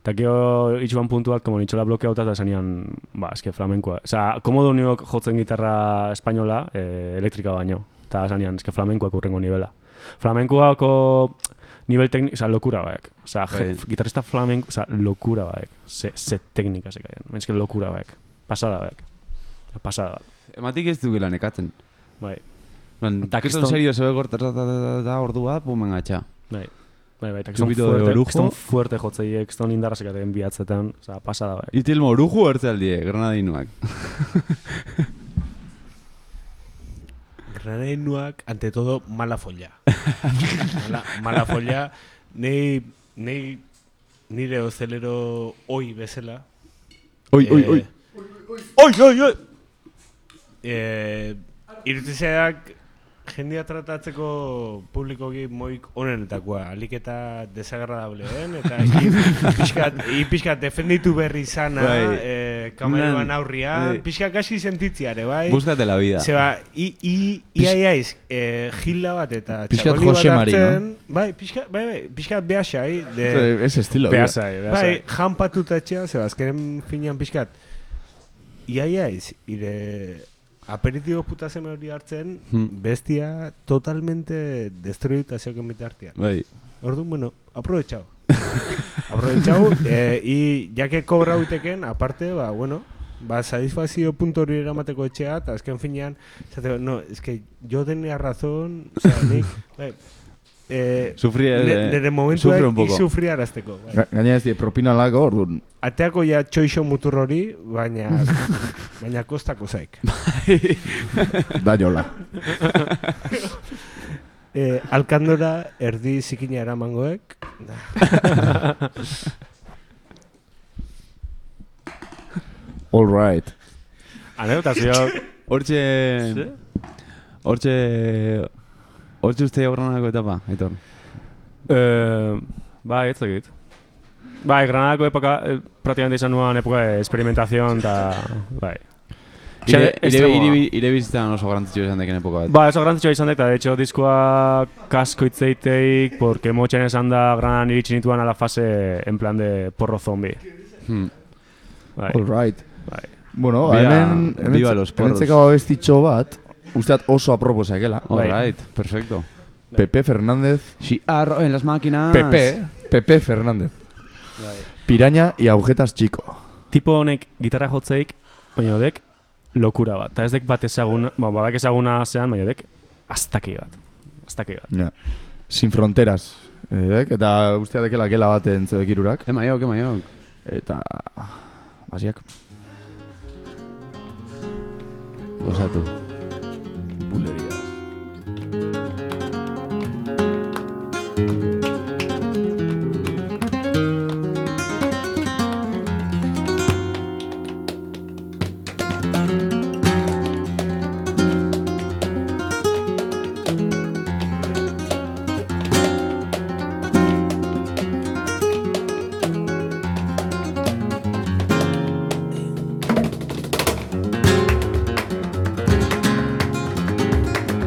eta gero itxuan puntu bat, como nitxola blokeauta eta zenian, ba, eske flamenkoa. Osa, komodo niok jotzen gitarra espainola, eh, elektrika baino. Eta zenian, eske flamenkoak urrengo nivela. Flamenkoako nivel teknik, oza, lokura baek. Oza, Bai. gitarrista flamenko, oza, lokura baek. Ze, ze teknika zekaien, mentzke lokura baek. Pasada baek. Pasada bat. Ematik Eh, ez dukela nekatzen. Bai. Lan, Eta kriston kriston- serio zebe gortaz da, da, da, da, ordua, bumen gatxa. Bai, bai, bai, eta kriston Chupito de fuerte, orujo. kriston fuerte jotzeiek, kriston indarra sekaten bihatzetan, oza, pasada bai. Itil moruju hartzaldie, eh, granadinuak. Granainuak, ante todo, mala folla. mala, mala folla. Nei, nei, nire ozelero oi bezala. Oi, oi, oi. Oi, oi, oi. Eh, irutizeak jendia tratatzeko publikoki moik onenetakoa. Alik eta desagradableen, eta i- pixkat, i pixkat defenditu berri izana, Bai. eh, kameruan Nan- aurrian, bai. pixkat gaski sentitziare, bai. Búscate la vida. Zeba, i, i, ia, ia, iz, eh, gila bat eta Pixkat txakoli bat Jose Mari, hartzen, bai, pixkat, bai, bai, pixkat behasai, de, Eh, Ez estilo. Behazai, behazai. bai, janpatuta etxea, zeba, azkenen finean pixkat, ia, ia, iz, ire, aperitibo puta zeme hori hartzen, Hmm. bestia totalmente destruita zeoken bite hartia. Bai. Orduan, bueno, aprovechau. aprovechau, eh, i, ja que kobra uiteken, aparte, ba, bueno, ba, satisfazio puntu hori eramateko etxea, eta azken finean, zateko, no, es que yo tenía razón, o sea, nik, bai, eh, Sufri, ne- eh, nere sufre momentuak un poco. izufriarazteko. Bai. Ga- Gaina ez die, propina lako, orduan. Ateako ja txoixo mutur hori, baina, baina kostako zaik. Bai. Da jola. Eh, alkandora erdi zikina eramangoek, da, All right. Anedotazio, Hortxe... Ze? Hortxe... Hortxe uste granadako etapa, Aitor. eh, bai, ez dakit. Bai, Granadako epoka, eh, prácticamente izan nuan epoka de experimentación, eta, bai. Xe, Ire, ire, extremoa. ire, ire bizitzan oso garantzitsua izan deken epoka bat. Ba, eso garrantzitsua izan dek, eta de hecho diskoa kasko itzeiteik, porque motxen esan da Granadan iritsi nituan a la fase en plan de porro zombi. Hmm. Bai, All right. bai. Bueno, Viva- hemen... hemen viva ze- los Hemen porros. zekaba bestitxo bat, usteat oso aproposakela. All Bai. right, perfecto. Pepe Fernández. Si Ba, arro en las máquinas... Pepe. eh? Pepe Fernández. Piraña y agujetas chico. tipo honek gitarra jotzeik, baina dek lokura bat. Eta ez dek bat ezaguna, ba, badak ezaguna zean, baina dek aztaki bat. Aztaki bat. Ja. Sin fronteras. Eh, eta ustea dekela gela baten zebek irurak. Ema jok, ema jok. Eta... Basiak. Gozatu. Buleria. Thank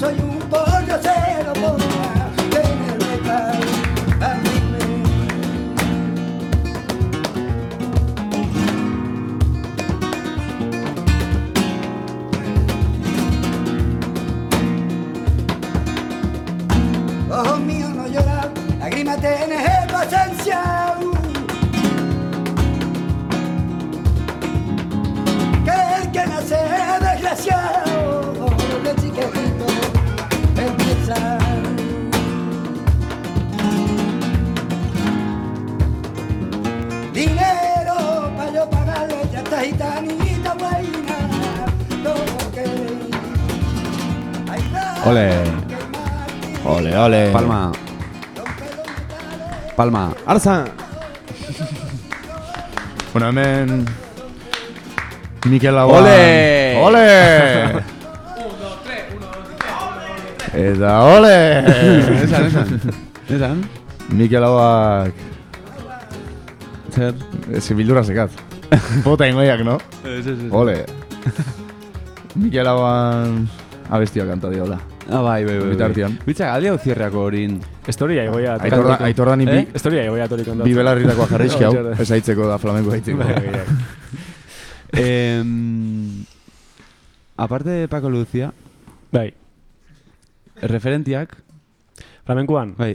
soy un pollo cero bomba que me reta a mí. Ojos míos no lloran, lágrimas tienes en tu ausencia. que el que nace desgraciado de chiquitito empieza. Dinero para yo pagarle ya esta gitanita buena, no que Ole. Ole, ole. Palma. Palma. Arza! Bueno, hemen... Mikel Lagoa... Ole! Ole! Eta ole! Eh, Esan, esan. Esan. Mikel Lagoak... Zer? Ez bildura zekat. Bota ingoiak, no? Ez, ez, ez. Ole! Mikel Lagoan... Abestia kanta diola. Ah, bai, bai, bai. Bitartean. Bitza, aldi hau zierreako horin. Historia egoia. Eh? Aitorda- aitordanik bi- Historia egoia atorri kontatzen. Bi belarritakoa jarrizki hau. Hori da. Ez aitzeko da flamenko aitzeko. Bai, bai, Em, aparte de Paco Lucia... Bai. Referentiak... Flamenkoan? Bai.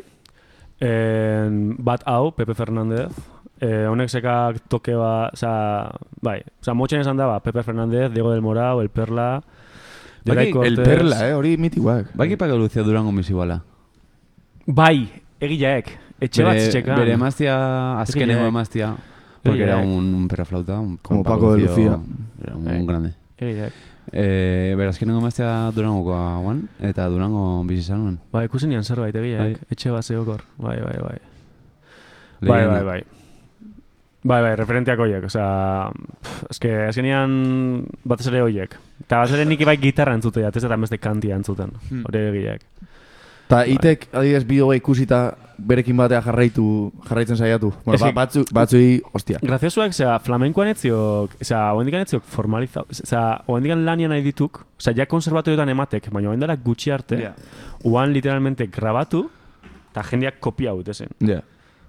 En, bat hau, Pepe Fernández. Eh, honek sekak toke ba, oza, bai, oza, motxen esan da, ba, Pepe Fernández, Diego del Morao, El Perla, Geray Baki- El Cortez. Perla, Bai, eh, hori mitikoak. Baki Bai, Paco Lucia durango misibala. Bai, egileek, etxe bat txekan. Bere emaztia, azkeneko Egileak. emaztia. Porque era Egileak. un, un perraflauta. Un, Como Paco de Lucía. Era un, un grande. Egileak. Eh, bera, azkeneko emaztia Durangokoa guan, eta Durango bizi izan nuen. Ba, ikusi nian zerbait egileak, etxe bat zeokor. Bai, bai, bai. Bai, Leyenda. bai, bai. Bai, bai, referenteak hoiek, osea, pff, eske azkenean batez ere hoiek. Eta batez ere nik bai gitarra entzutea, ez eta beste kantia entzuten, Hmm. hori egileak. Ta itek, adibidez, bideoa ikusita berekin batea jarraitu, jarraitzen saiatu. Bueno, Ez ba, que- batzu, batzuei, ostia. Graziosuak, osea, flamenkoan etziok, osea, oendikan etziok formaliza, osea, oendikan lanian nahi dituk, osea, ja konservatorioetan ematek, baina oendara gutxi arte, Ja. uan literalmente grabatu, eta jendeak kopia hau zen. Ja.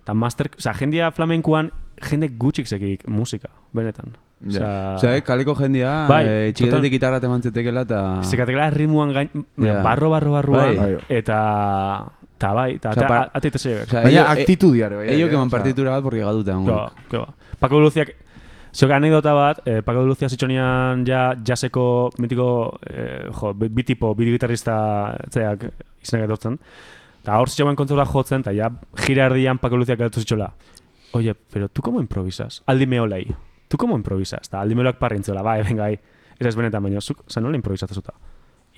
Eta master, osea, jendea flamenkoan, jende gutxik zekik musika, benetan. Ja. Osea, eh, kaleko jendea, Bai, eh, total. txiketetik gitarra temantzetekela eta... Zekatekela rimuan gain, Ja. barro, barro, barroan, Bai. eta... Eta bai, eta Osea, ate- pa- atete zeibek. Osea, ello- eh, bai, bai, Ello que man partitura bat, porque gaduta. Claro, claro. Ba, Paco de Luciak, zeok anekdota bat, eh, Paco de Lucia zitxonian ja jaseko mitiko, eh, jo, bi- bi tipo, bi gitarrista zeak izanak etortzen. Eta hor zitxoan kontzula jotzen, eta ja gira erdian Paco de Luciak gatu zitxola. Oye, pero tú cómo improvisas? Aldi meolai. Tú cómo improvisas? Eta aldi meolak parrintzola, bai, venga, bai. Ez ez benetan baino, zuk, oza, nola improvisatezuta?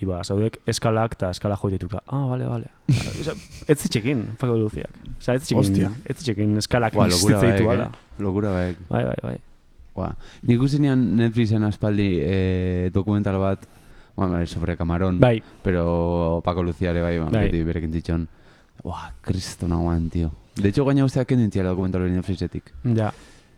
Iba, zaudek eskalak eta eskala jo dituka. Ah, vale, vale. Oza, ez zitxekin, Paco de Luciak. Oza, ez Hostia. zitxekin, ez zitxekin eskalak Ba, logura existitzen ditu, baek, ala. eh? Logura baek. Bai, bai, bai. Ba. Nik uste nian Netflixen aspaldi eh, dokumental bat, bueno, bai, sobre Camarón, Bai. pero Paco Lucía ere bai, ba, Bai. beti berekin zitxon. Ua, kristo nagoan, tío. De hecho, gaina usteak kendu intiala dokumental hori Netflixetik. Ja.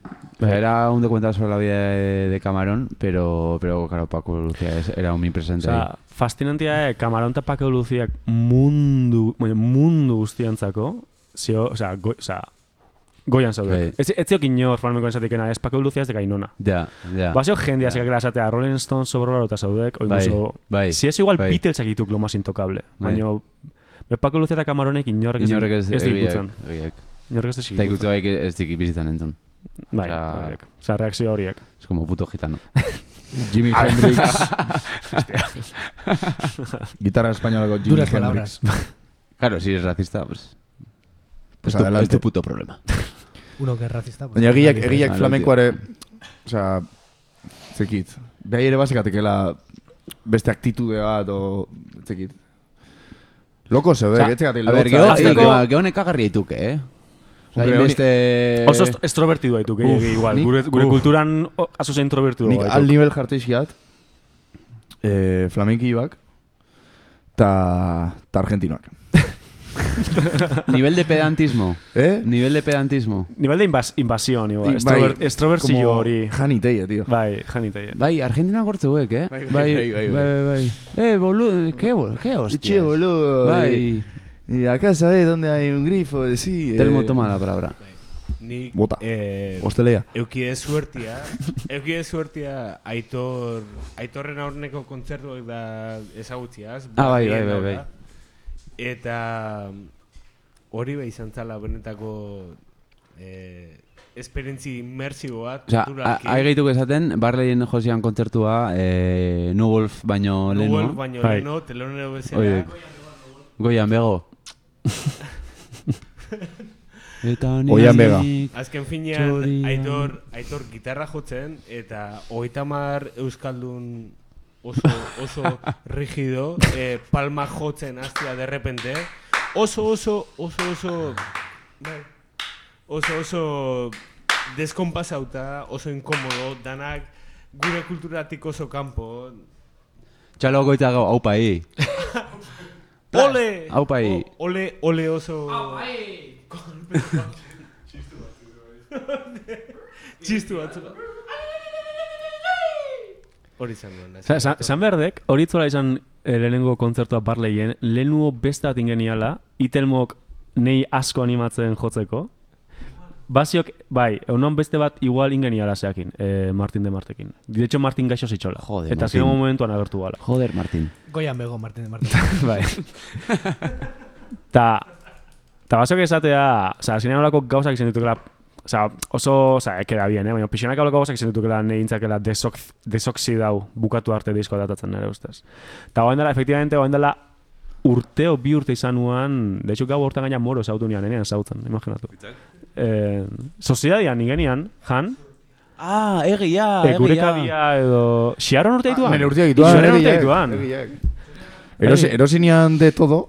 O sea, Era un documental sobre la vida de, de Camarón, pero, pero claro, Paco Lucía es- era un presente Osa, fascinantia da, eh, Camarón eta Paco Luciak mundu, bueno, mundu guztiantzako, zio, osa, go, osa, goian Bai. zaudek. Ez, ez ziok inor flamenkoen esatikena, ez Paco Lucia ez Ba, deka inona. Ja, ja. Bazio jendea yeah. sekakera esatea, Rolling Stones sobrora eta zaudek, oin Bai, guzo, bai, si ez igual bai. Beatlesak dituk lo más intokable, Bai. baina be Paco Lucia eta Camaronek inorrek ez, Inorrek ez ez egiak, dikutzen. egiak. Inorrek ez Eta dikutzen. ikutu baik ez dik bizitzan entzun. Bai, Osea, Osa, reakzio horiek. Es como puto gitano. Jimi Hendrix. Guitarra espainolako Jimi Duras Hendrix. palabras. Claro, si eres racista, pues... Pues es tu- adelante. es tu puto problema. Uno que es racista. pues, Baina egiak, nadie. egiak flamenkoare, osea, zekit. Behi ere bazekatekela beste aktitude bat, o, zekit. Loko zeudek, Osea, ez zekatek a ver, lotza, geho- ez zekatek- geho- geho nekagarria dituke, eh? Osea, eh. Hombre, hainbeste- Oso est- estrobertidu daitu, Uf, gehiagi igual. nik- Gure, gure uf. kulturan o- asoz introbertidu Nik al nivel jarteiziat, eh, flamenki bak, ta, ta argentinoak. Nivel de pedantismo. ¿Eh? Nivel de pedantismo. Nivel de invas invasión, igual. Bai, Estrover- Estrobertzio como hori. Jani teia, tío. Bai, jani teia. Bai, Argentina gortze hauek, eh? Bai, Bai, bai, bai, bai, bai, bai. bai. Eh, boludo, qué bol- qué hostias. Che, boludo. eh, Bai. Y, y acá sabes dónde hay un grifo, eh, sí. Telmo, toma la palabra. Nik, Bota. Eh, Hostelea. Eukide suertia. eukide suertia aitor, aitorren aurreneko kontzertuak da ezagutziaz. Ah, bai, bai, Berlin bai, bai. daula. Eta mm, hori bai izan zala benetako eh, esperientzi inmersibo bat. Osea, kulturalki. hai gaituk esaten, Barleyen Josean kontzertua, eh, New Wolf baino Nu lehenu. Wolf baino Bai. lehenu, telonero bezala. Hoi. Goian bego. Eta ni- Oian bega. Azken finean, Txorian. aitor, aitor gitarra jotzen, eta hogeita mar Euskaldun oso, oso rigido, eh, palma jotzen hastia derrepente. Oso, oso, oso, oso... Bai. Oso, oso deskonpasauta, oso inkomodo, danak gure kulturatik oso kanpo. Txalo goita gau, hau pai. Ole! Hau pai. O- Ole, ole oso... Txistu batzuk. Hori izango naiz. Sa- sa- San Berdek, hori itzola izan eh, lehenengo kontzertua Barleyen, lehenuo beste bat ingeniala, itelmok nei asko animatzen jotzeko. Basiok, bai, honon beste bat igual ingeniala zeakin, eh, Martin de Martekin. De hecho, Martin gaixo zitxola. Joder, Eta Martin. azken momentuan agertu gala. Joder, Martin. Goian bego, Martin de Martin. bai. Ta, ta basok esatea, oza, azkenean olako gauzak izan ditukela, oza, oso, oza, ekera bien, eh? baina pixanak olako gauzak izan ditukela nahi intzakela desok, desoxi dau bukatu arte disko datatzen nire ustez. Ta oen dela, efektibamente, oen dela urteo bi urte izan nuan, de hecho, gau hortan gaina moro zautu nian, enean zautzen, imaginatu. Eh, Soziadian ingenian, jan, Ah, egia, eh, gure egia. kabia edo... Xiaron urte dituan? Nere urteak dituan. Xiaron urte dituan. Erosi, Bai. erosinean de todo.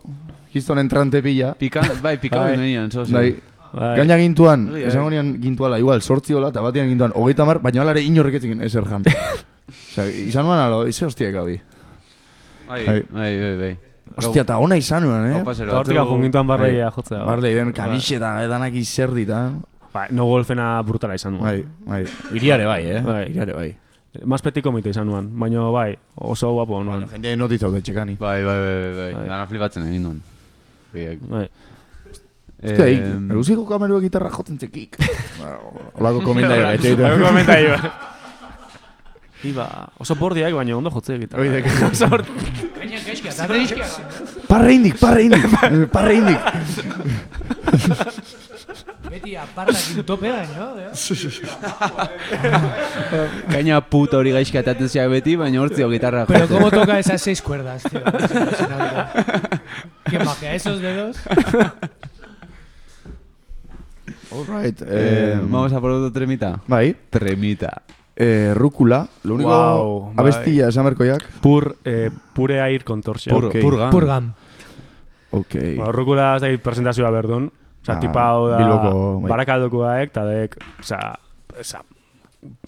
Gizonen trante pila. Pikan, bai, pikan Bai. nenian, zoz. Bai. Bai. Gaina gintuan, Bai, bai. esango nian gintuala, igual, sortzi hola, eta batean gintuan, hogeita mar, baina alare inorreketzekin ezer jan. Osea, izan nuan alo, ize hostiak gabi. Bai, Bai. bai, bai, bai. Hostia, eta ona izan nuan, eh? Hau pasero. Ta hortik jongintuan barreia jotzea, bai. Barlei, den eh, kabixe eta edanak izerdi, eta... Ba, no golfena brutala izan nuen. Bai, bai. Iriare bai, eh? Bai. Iriare bai. Mas petiko mite izan nuen, baina bai, oso guapo nuen. Jendea notitza dut txekani. Bai, bai, bai, bai, bai. Dana flipatzen egin duen. Bai. Bai. Hostia, eh, eruziko kamerua gitarra jotzen txekik. Olako komendaio Bai. gaitxe ditu. Olako komendario. bai. Iba, oso bordiak baina ondo jotze egiten. Oide, oso Gaina gaizkia, eta gaizkia. Parre indik, parre indik, eh, parre indik. Beti apartakin topea, ¿eh? no? Kaina puta hori gaizka atatzen ziak beti, baina hortzio gitarra Pero jotzen. cómo toca esas seis cuerdas, tío. Es impresionante. Qué magia, esos dedos. Alright, Eh, eh, vamos a por otro tremita. Bai. Tremita. Eh, rukula, lo único Guau, bai. abestilla esan berkoiak. Pur, eh, pure air contorsia. Pur- Ok. purgan. Purgan. Ok. Ba, rukula ez dakit presentazioa berdun. Osa, Ah, tipa hau da, Bilboko, bai. barakaldoko daek, eta dek, osa, osa,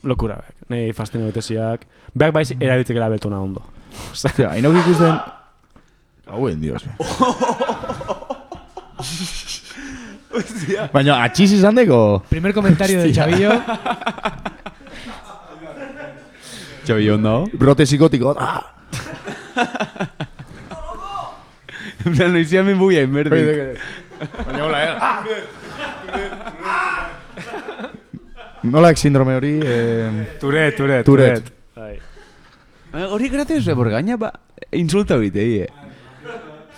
lokura bek. Nei fastino beteziak. Beak baiz erabiltzekela betona ondo. Ostia, hainok ikusten... Hauen, dios. Baina, atxiz izan deko? Primer comentario del Hostia. chavillo. Txabi ondo. Brote psikotiko. Ah! En plan, lo hicieron en buia, en verde. Baina hola, eh? Ah. Nolak sindrome hori? Eh... Turet, turet, Turet. Bai. Hori gratis, eh, borgaina, ba, insulta bitei, eh.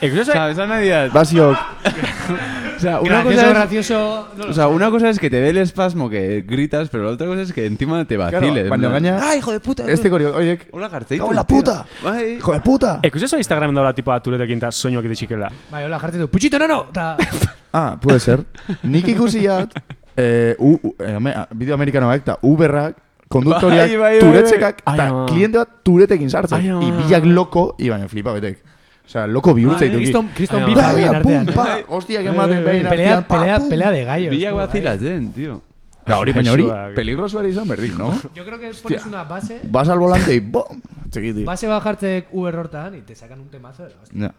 Incluso... ¿Sabes? A nadie... Basiok. O sea, una Gracioso, cosa es... gracioso. no lo O sea, una cosa es que te ve el espasmo que gritas, pero la otra cosa es que encima te vaciles. Baina gaina... ¡Ay, hijo de puta! Este gorio, oiek... ¡Hola, garteitu! Hau la puta! ¡Ay! Hijo de puta! Ikusi eso Instagram daula tipa turetekin eta soñoak itxikela. Bai, hola, jartzen du. Puchito, no, no. Ta... Ah, puede ser. Nik ikusi jat, eh, u, u, eh, ame, a- bideo amerikanoak eta Uberrak, konduktoriak, Bai, bai, bai, bai. turetzekak, Ai, eta ama. kliente bat turetekin sartzen. Ai, ama. I bilak loko, i baina flipa betek. Osea, Ah, loko bihurtza Bai, ituki. Kriston, kriston Ai, bifa Bai, bien pum, artean. eh? pa, hostiak ematen behin Pelea, artean, pa, pelea, pum. pelea de gallos. Villa tú, eh. vacilatzen, tío. Ba, hori, baina hori, Gaixoak. peligroso ere izan berdin, no? Yo creo que pones una base. Vas al volante y bom, txikiti. Base bajartzek Uber hortan y te sacan un temazo de la hostia. Ja.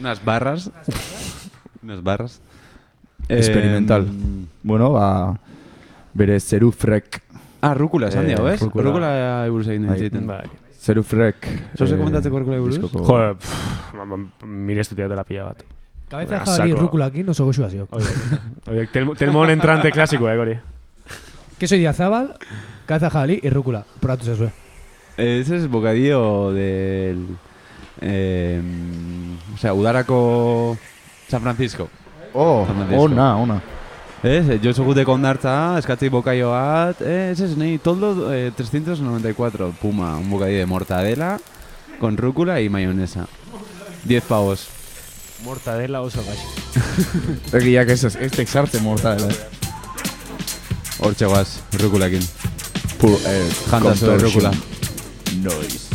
Unas barras. Unas barras. Experimental. bueno, ba, bere zeru frek. Ah, rukula esan diago, ez? Rukula buruz egin Bai. ditzen. Bai. Zeru frek. Zoze eh, komentatzeko rukula buruz? diskoko- Jo, eh, pff, ma- ma- mire estutia dela pila bat. Kabeza Ah, jabari saco. rukulakin oso goxua ziok. Oiek, telmo- telmon entrante klasikoa, eh, hori. Keso idiazabal, kabeza jabali, irrukula. Probatu zezue. Eh, Ese es bocadillo del. eh, o sea, Udaraco San Francisco. Oh, ona, ona. Ez, jo zoguteko ondartza, eskatzi bokaio bat, ez ez, nahi, toldo eh, 394, puma, un bocadillo de mortadela, con rúcula y mayonesa. 10 pavos. Mortadela oso gaxi. Egiak ez, ez este texarte eh. mortadela. Hortxe guaz, rúculakin. Pur, eh, conservation. rúcula. Noiz.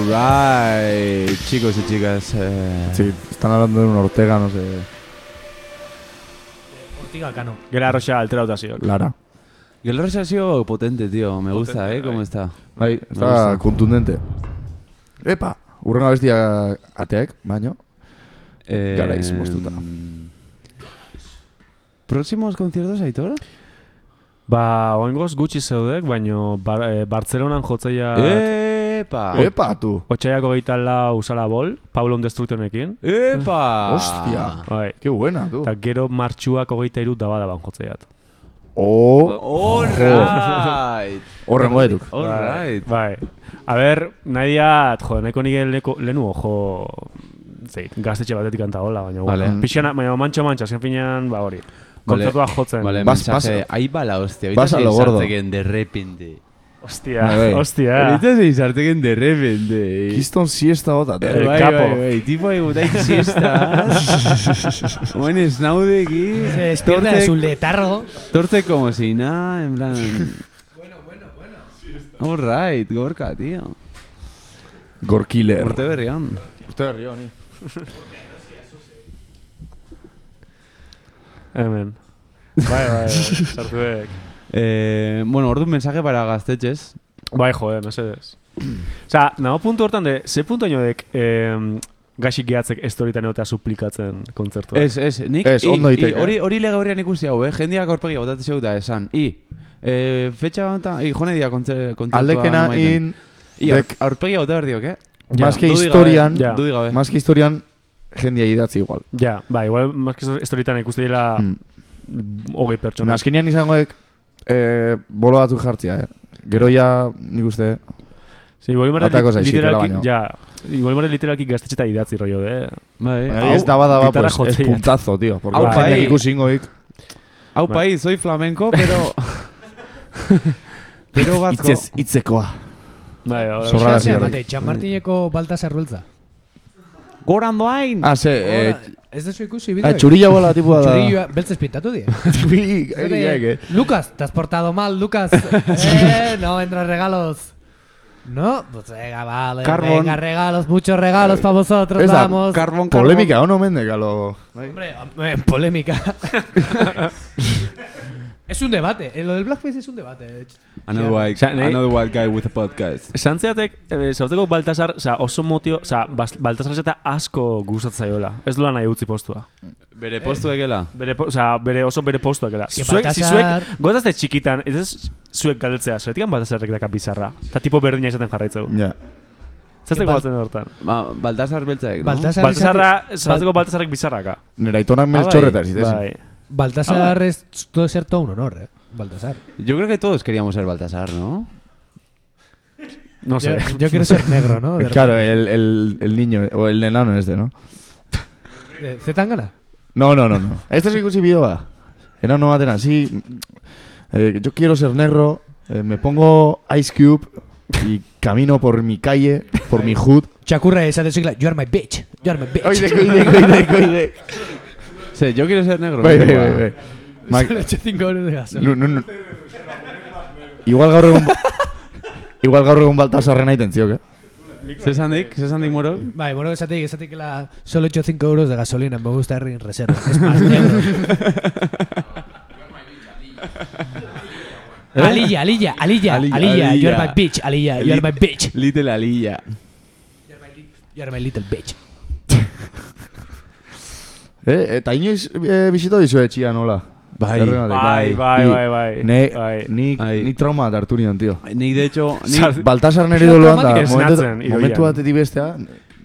Alright, chicos y chicas. eh, Sí, están hablando de un Ortega, no sé. Ortiga Cano. Gela Rocha alteratazioak. Lara. Gela Rocha ha sido potente, tío. Me gusta, ¿eh? ¿Cómo está? Bai, Me está gusta. contundente. Epa, urrengo bestia ateak, baino. Eh, Garaiz moztuta. ¿Próximos conciertos, Aitor? Ba, oingoz gutxi zeudek, baino bar, eh, Bartzelonan jotzeia... Epa! Epa, tu! Otxaiako gehieta lau usala bol, Paulo Destructionekin. Epa! Hostia, Bai. Qué buena, du. Eta gero martxuak hogeita irut daba daban jotzeiat. Oh! Alright! Horrengo eduk. Alright! Bai. A ber, nahi diat, jo, nahiko nire leko, lehenu, jo, zeit, gaztetxe batetik kanta hola, baina, Vale. bueno, pixana, baina mantxo mantxo, azken finean, ba hori, kontzertua jotzen. Vale, Bas- mensaje. bas- Ahí va la hostia. Vas a Ahorita lo se gordo. sarteguen de repente. Hostia, Bai, bai. hostia. Ahorita se izarteken de repente. Kiston siesta bota. El bai, capo. Bai, bai, tipo egutai siesta. Buen esnaude aquí. Se despierta de su letargo. Torte como si nada, en plan... bueno, bueno, bueno. All right, Gorka, tío. Gorkiller. Urte berrian. Urte berrian, ni. Hemen. Bai, bai, bai, sartuek. Eh, bueno, ordu mensaje para gaztetxez. Bai, joder, mesedes. Osa, nago puntu hortan de, ze puntu inoek eh, gaxik gehatzek estoritan egotea suplikatzen kontzertua? Ez, ez, nik... Bai. Ez, i- ondo i- iteke. Hori, hori lege horrean ikusi hau, eh? Jendiak aurpegi botatzen zeu da, esan. I, eh, fetxa honetan, i, jone dia kontzer, kontzertua Aldekena nomaiten. in- I, aur- dek- aurpegi bota berdiok, eh? Más que Dudik gabe, historian, Dudik gabe. más que historian, jendia idatzi igual. Ja, ba, igual, maski estoritan ikusten dira hogei pertsona. Azkenean izangoek, eh, bolo batzuk jartzia, eh. Gero ja, nik uste, Sí, igual mara Atako zaizkik, literalki, hola baino. ja, igual mara literalki gaztetxeta idatzi rollo, eh? Bai, Baina ez daba daba, pues, ez puntazo, tío. Porque Hau jendeak bai. ikusi ingoik. Hau Bai. país, soy flamenco, pero... pero vasco. Itzez- itzekoa. Bai, hau da. Sobrada Zer, zerrik. mate, Txamartineko Baltasar Rueltza. Goran doain! Ah, ze, eh, Ez da ikusi Ah, bideoik? txurilla bola tipua da. Txurilla, beltzez pintatu die. Bi- egiak, eh. Lucas, te has portado mal, Lucas. eh, no vendrás regalos. No, pues venga, vale. Carbón. Venga, regalos, muchos regalos para vosotros, Ez da, vamos. Polemika, ono mendek, alo. Hombre, eh, polémica. es un debate. eh, Lo del blackface es un debate. Another white, Sa- nahi- another white guy with a podcast. eh? Santzeatek, eh, zauteko Baltasar, oza, oso motio, oza, Baltasar zeta asko gustatzaiola. Ez dola nahi utzi postua. Bere postu egela. Bere, po- oza, bere oso bere postuak dela. Eske Zuek, si Baltasar- zuek, gotazte txikitan, ez ez zuek galdetzea, zuetik Baltasarrek daka bizarra. Eta tipo berdina izaten jarraitzeu. Ja. Zazte Bal- gozatzen hortan. Ba, Baltasar beltzaek, no? Baltasar Baltasarra, izate- zauteko Baltasarrek bizarraka. Nera aitonak Ah, melchorretas, dices. Bai. Baltasar es todo ser todo un honor, eh. Baltasar. Yo creo que todos queríamos ser Baltasar, ¿no? No sé. Yo- yo quiero ser negro, ¿no? De Claro, el, el, el niño, o el enano este, ¿no? Eh, ¿Zetangana? No, no, no, no. Este es ikusi bideoa. Enano baten así. Eh, yo quiero ser negro, eh, me pongo Ice Cube y camino por mi calle, por mi hood. Chacurra esa de sigla. You are my bitch. You are my bitch. Oide, oide, oide, oide. Sí, yo quiero ser negro. Bai, ¿no? bai, bai, bai. Ma- Solo eché cinco euros de gasolina. Nu- nu- nu- Igual gaur egun... Igual gaur egun baltasarren aiten ziok, eh? Zesandik, zesandik moro. Vale, bueno, esa te esa te que la solo echo 5 euros de gasolina, me gusta ir en reserva. Es más negro. ¿Eh? Alilla, Alilla, Alilla, Alilla, Alilla, you are Alilla. my bitch, Alilla, you are my bitch, Little Alilla. you are my little bitch. Eh, eta inoiz eh, bisita dizu etxia nola? Bai. Erregatek, Bai, bai, Ni- bai, bai. Ne, Bai. ni, ni trauma bat hartu nion, tio. Nik, de hecho... Ni, Nik, Baltasar nire doloan da, Traumatik momentu, esnatzen, idoian. momentu batetik bestea,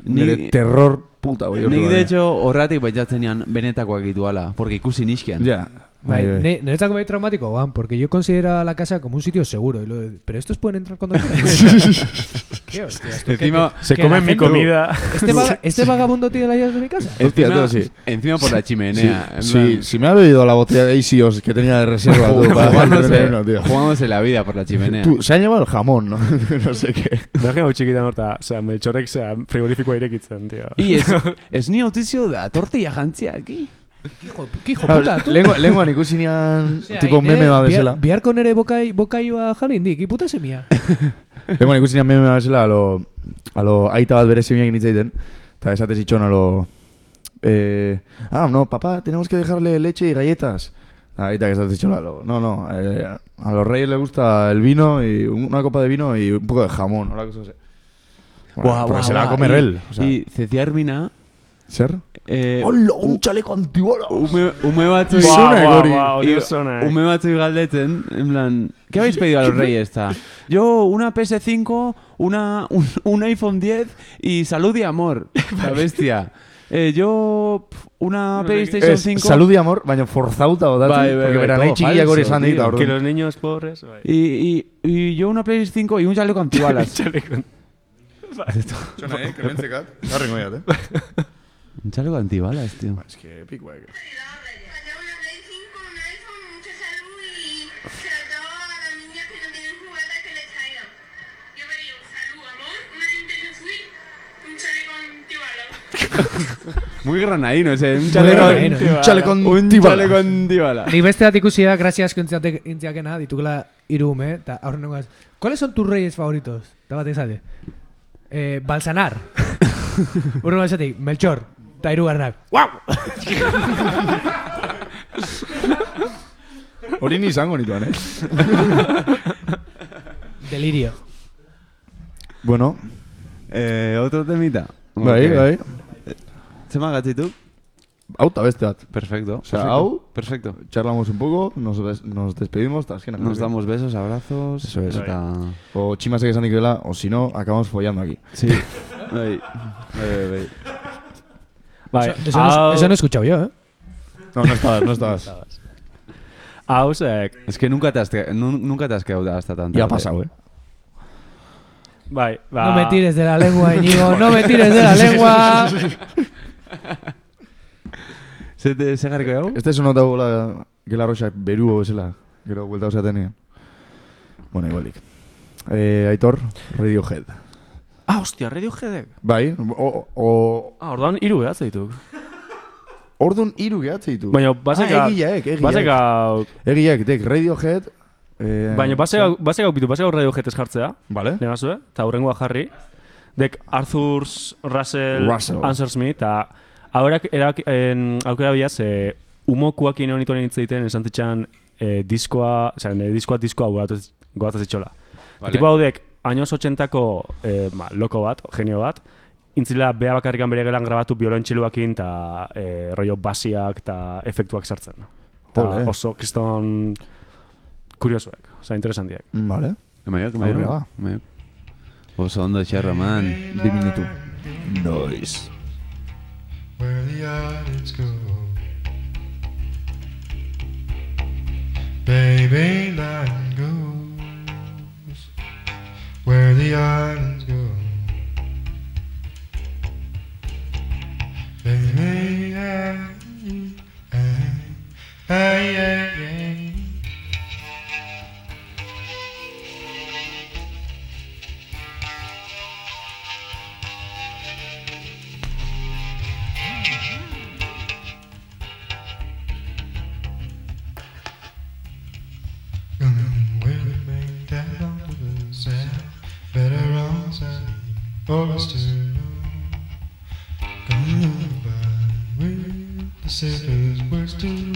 nire Ni- terror puta bai, hori nik de hecho horratik baitzatzen nian benetakoak dituala, porque ikusi nixkian. Ja. Bai, ne- Niretzako bai traumático, Juan, porque yo considero la casa como un sitio seguro. y lo de- Pero estos pueden entrar cuando quieran. ¿Qué hostias? tú, que- Encima- que- Se que la comen mi gente- comida. ¿Este, vaga- este vagabundo tiene las llaves de mi casa? Hostia, Encima- tú sí. encima por la chimenea, en Sí, plan- sí, si me ha bebido la botella de Isios que tenía de reserva, tú, para jugándose, tener uno, tío. jugándose la vida por la chimenea. Tú, se ha llevado el jamón, ¿no? no sé qué. Bergen hau txikitan horta, oza, melchorek zera frigorifikoa irekitzen, tio. Y es, es ni autizio da, tortilla jantzia aquí. ¿Qué hijo, qué hijo puta? tú? Lengua, lenguan ikusi nian, Osea, tipo nere meme bat bihar- bezala. Biharko nere bokai, bokaioa jalindik, iputa semia. Lenguan ikusi nian meme bat bezala, lo... alo, aita bat bere simiak nitzaiten, eta esate zitxon, alo, eh, ah, no, papá, tenemos que dejarle leche y galletas. Ah, Aita que esate zitxon, alo, no, no, eh, a los reyes le gusta el vino, y una copa de vino y un poco de jamón, hola, cosas así. Bueno, Guau, porque guau, se la va a guau. comer Y- él. o sea. Y Cecia Hermina... ¿Ser? Eh, Hola, un chaleco antibola. Ume, ume batzu Guau, Sona, guau, Gori. guau, Y- diosona, eh. Ume batzu galdetzen, en plan, ¿qué habéis pedido a los reyes? Ta? Yo una PS5, una, un, un iPhone 10 y salud y amor, la bestia. Eh, yo pf, una PlayStation Es 5. salud y amor, baina forzauta odatu, Bai, bai, porque bai, beran todo nahi txikiak hori falso, esan dit, tío. orduan. Que los niños pobres... Bai. Y, y, y yo una PlayStation 5 y un chaleco antibalas. Txona, eh, krementzekat. Garrengo jat, eh. un chaleco antibalas, tío. Es que eh. pikoak. Muy granaíno ese, un Muy chaleco granaíno. Un chaleco Un antibala. chaleco antibala. Ni beste bat ikusi da, grazia asko intziate- intziakena, ditukela hiru ume, eta aurren nengoaz, ¿cuáles son tus reyes favoritos? Eta bat izate, eh, Balsanar. Urren bat esatik, Melchor, eta hirugarrenak. Guau! Hori ni izango nituan, eh. Delirio. bueno. Eh, otro temita. Bai, Ok. bai. Zema gatzitu? Hau eta beste bat. Perfecto. O sea, perfecto, hau, Perfecto. charlamos un poco, nos, des- nos despedimos, eta azkenak. Nos damos besos, abrazos. Eso es. Eta... O tximasek esan dikela, o si no, acabamos follando aquí. Sí. Bai, bai, bai. Bai, Eso- eso no- eso no he escuchado yo, eh. Ah. No, no estabas, no estabas. Hausek. Es que nunca te has, que- nu- nunca te has quedado hasta tanto. Ya ha pasado, eh. Bai, ba... No me tires de la lengua, Íñigo, no me tires de la lengua. Se te se garriko hau? Este sonota gola, gela roxa beruo bezala. Gero, guelta osaten egin. Bueno, igualik. Eh, Aitor, Radiohead. Ah, hostia, Radioheadek. Bai, o, o, Ah, orduan hiru behatze dituk. Ordun hiru gehatze ditu. Baina baseka... Ah, egileak, egileak. Baseka... Egileak, dek, Radiohead... Eh, Baina baseka, baseka bitu, baseka Radiohead ez jartzea. Vale. Negazu, eh? Eta horrengoa jarri. Dek Arthur, Russell, Russell. Answers Me, eta... Ahorak, erak, en, aukera bilaz, eh, umokuak ino nituen hitz egiten esan zitxan eh, diskoa, o sea, nire diskoa diskoa gogatuz- gogatuz zitxola. Vale. Vale. Tipo haudek, años 80ko eh, ba, loko bat, genio bat, intzila bea bakarrikan bere gelan grabatu biolontxiluakin eta eh, rollo basiak eta efektuak sartzen. Ta Ole. oso kriston kuriosuek, oza, interesantiak. Mm, Vale. Emaiak, Ah, emaiak. Aurrera. Emaiak. Oso ondo xerra, man. Bi minutu. Noiz. where the audience go. Baby, line goes where the islands go. Baby, I, I, I, I, Down on the sand, better on sand, for us to know. Come by with the sippers, words to,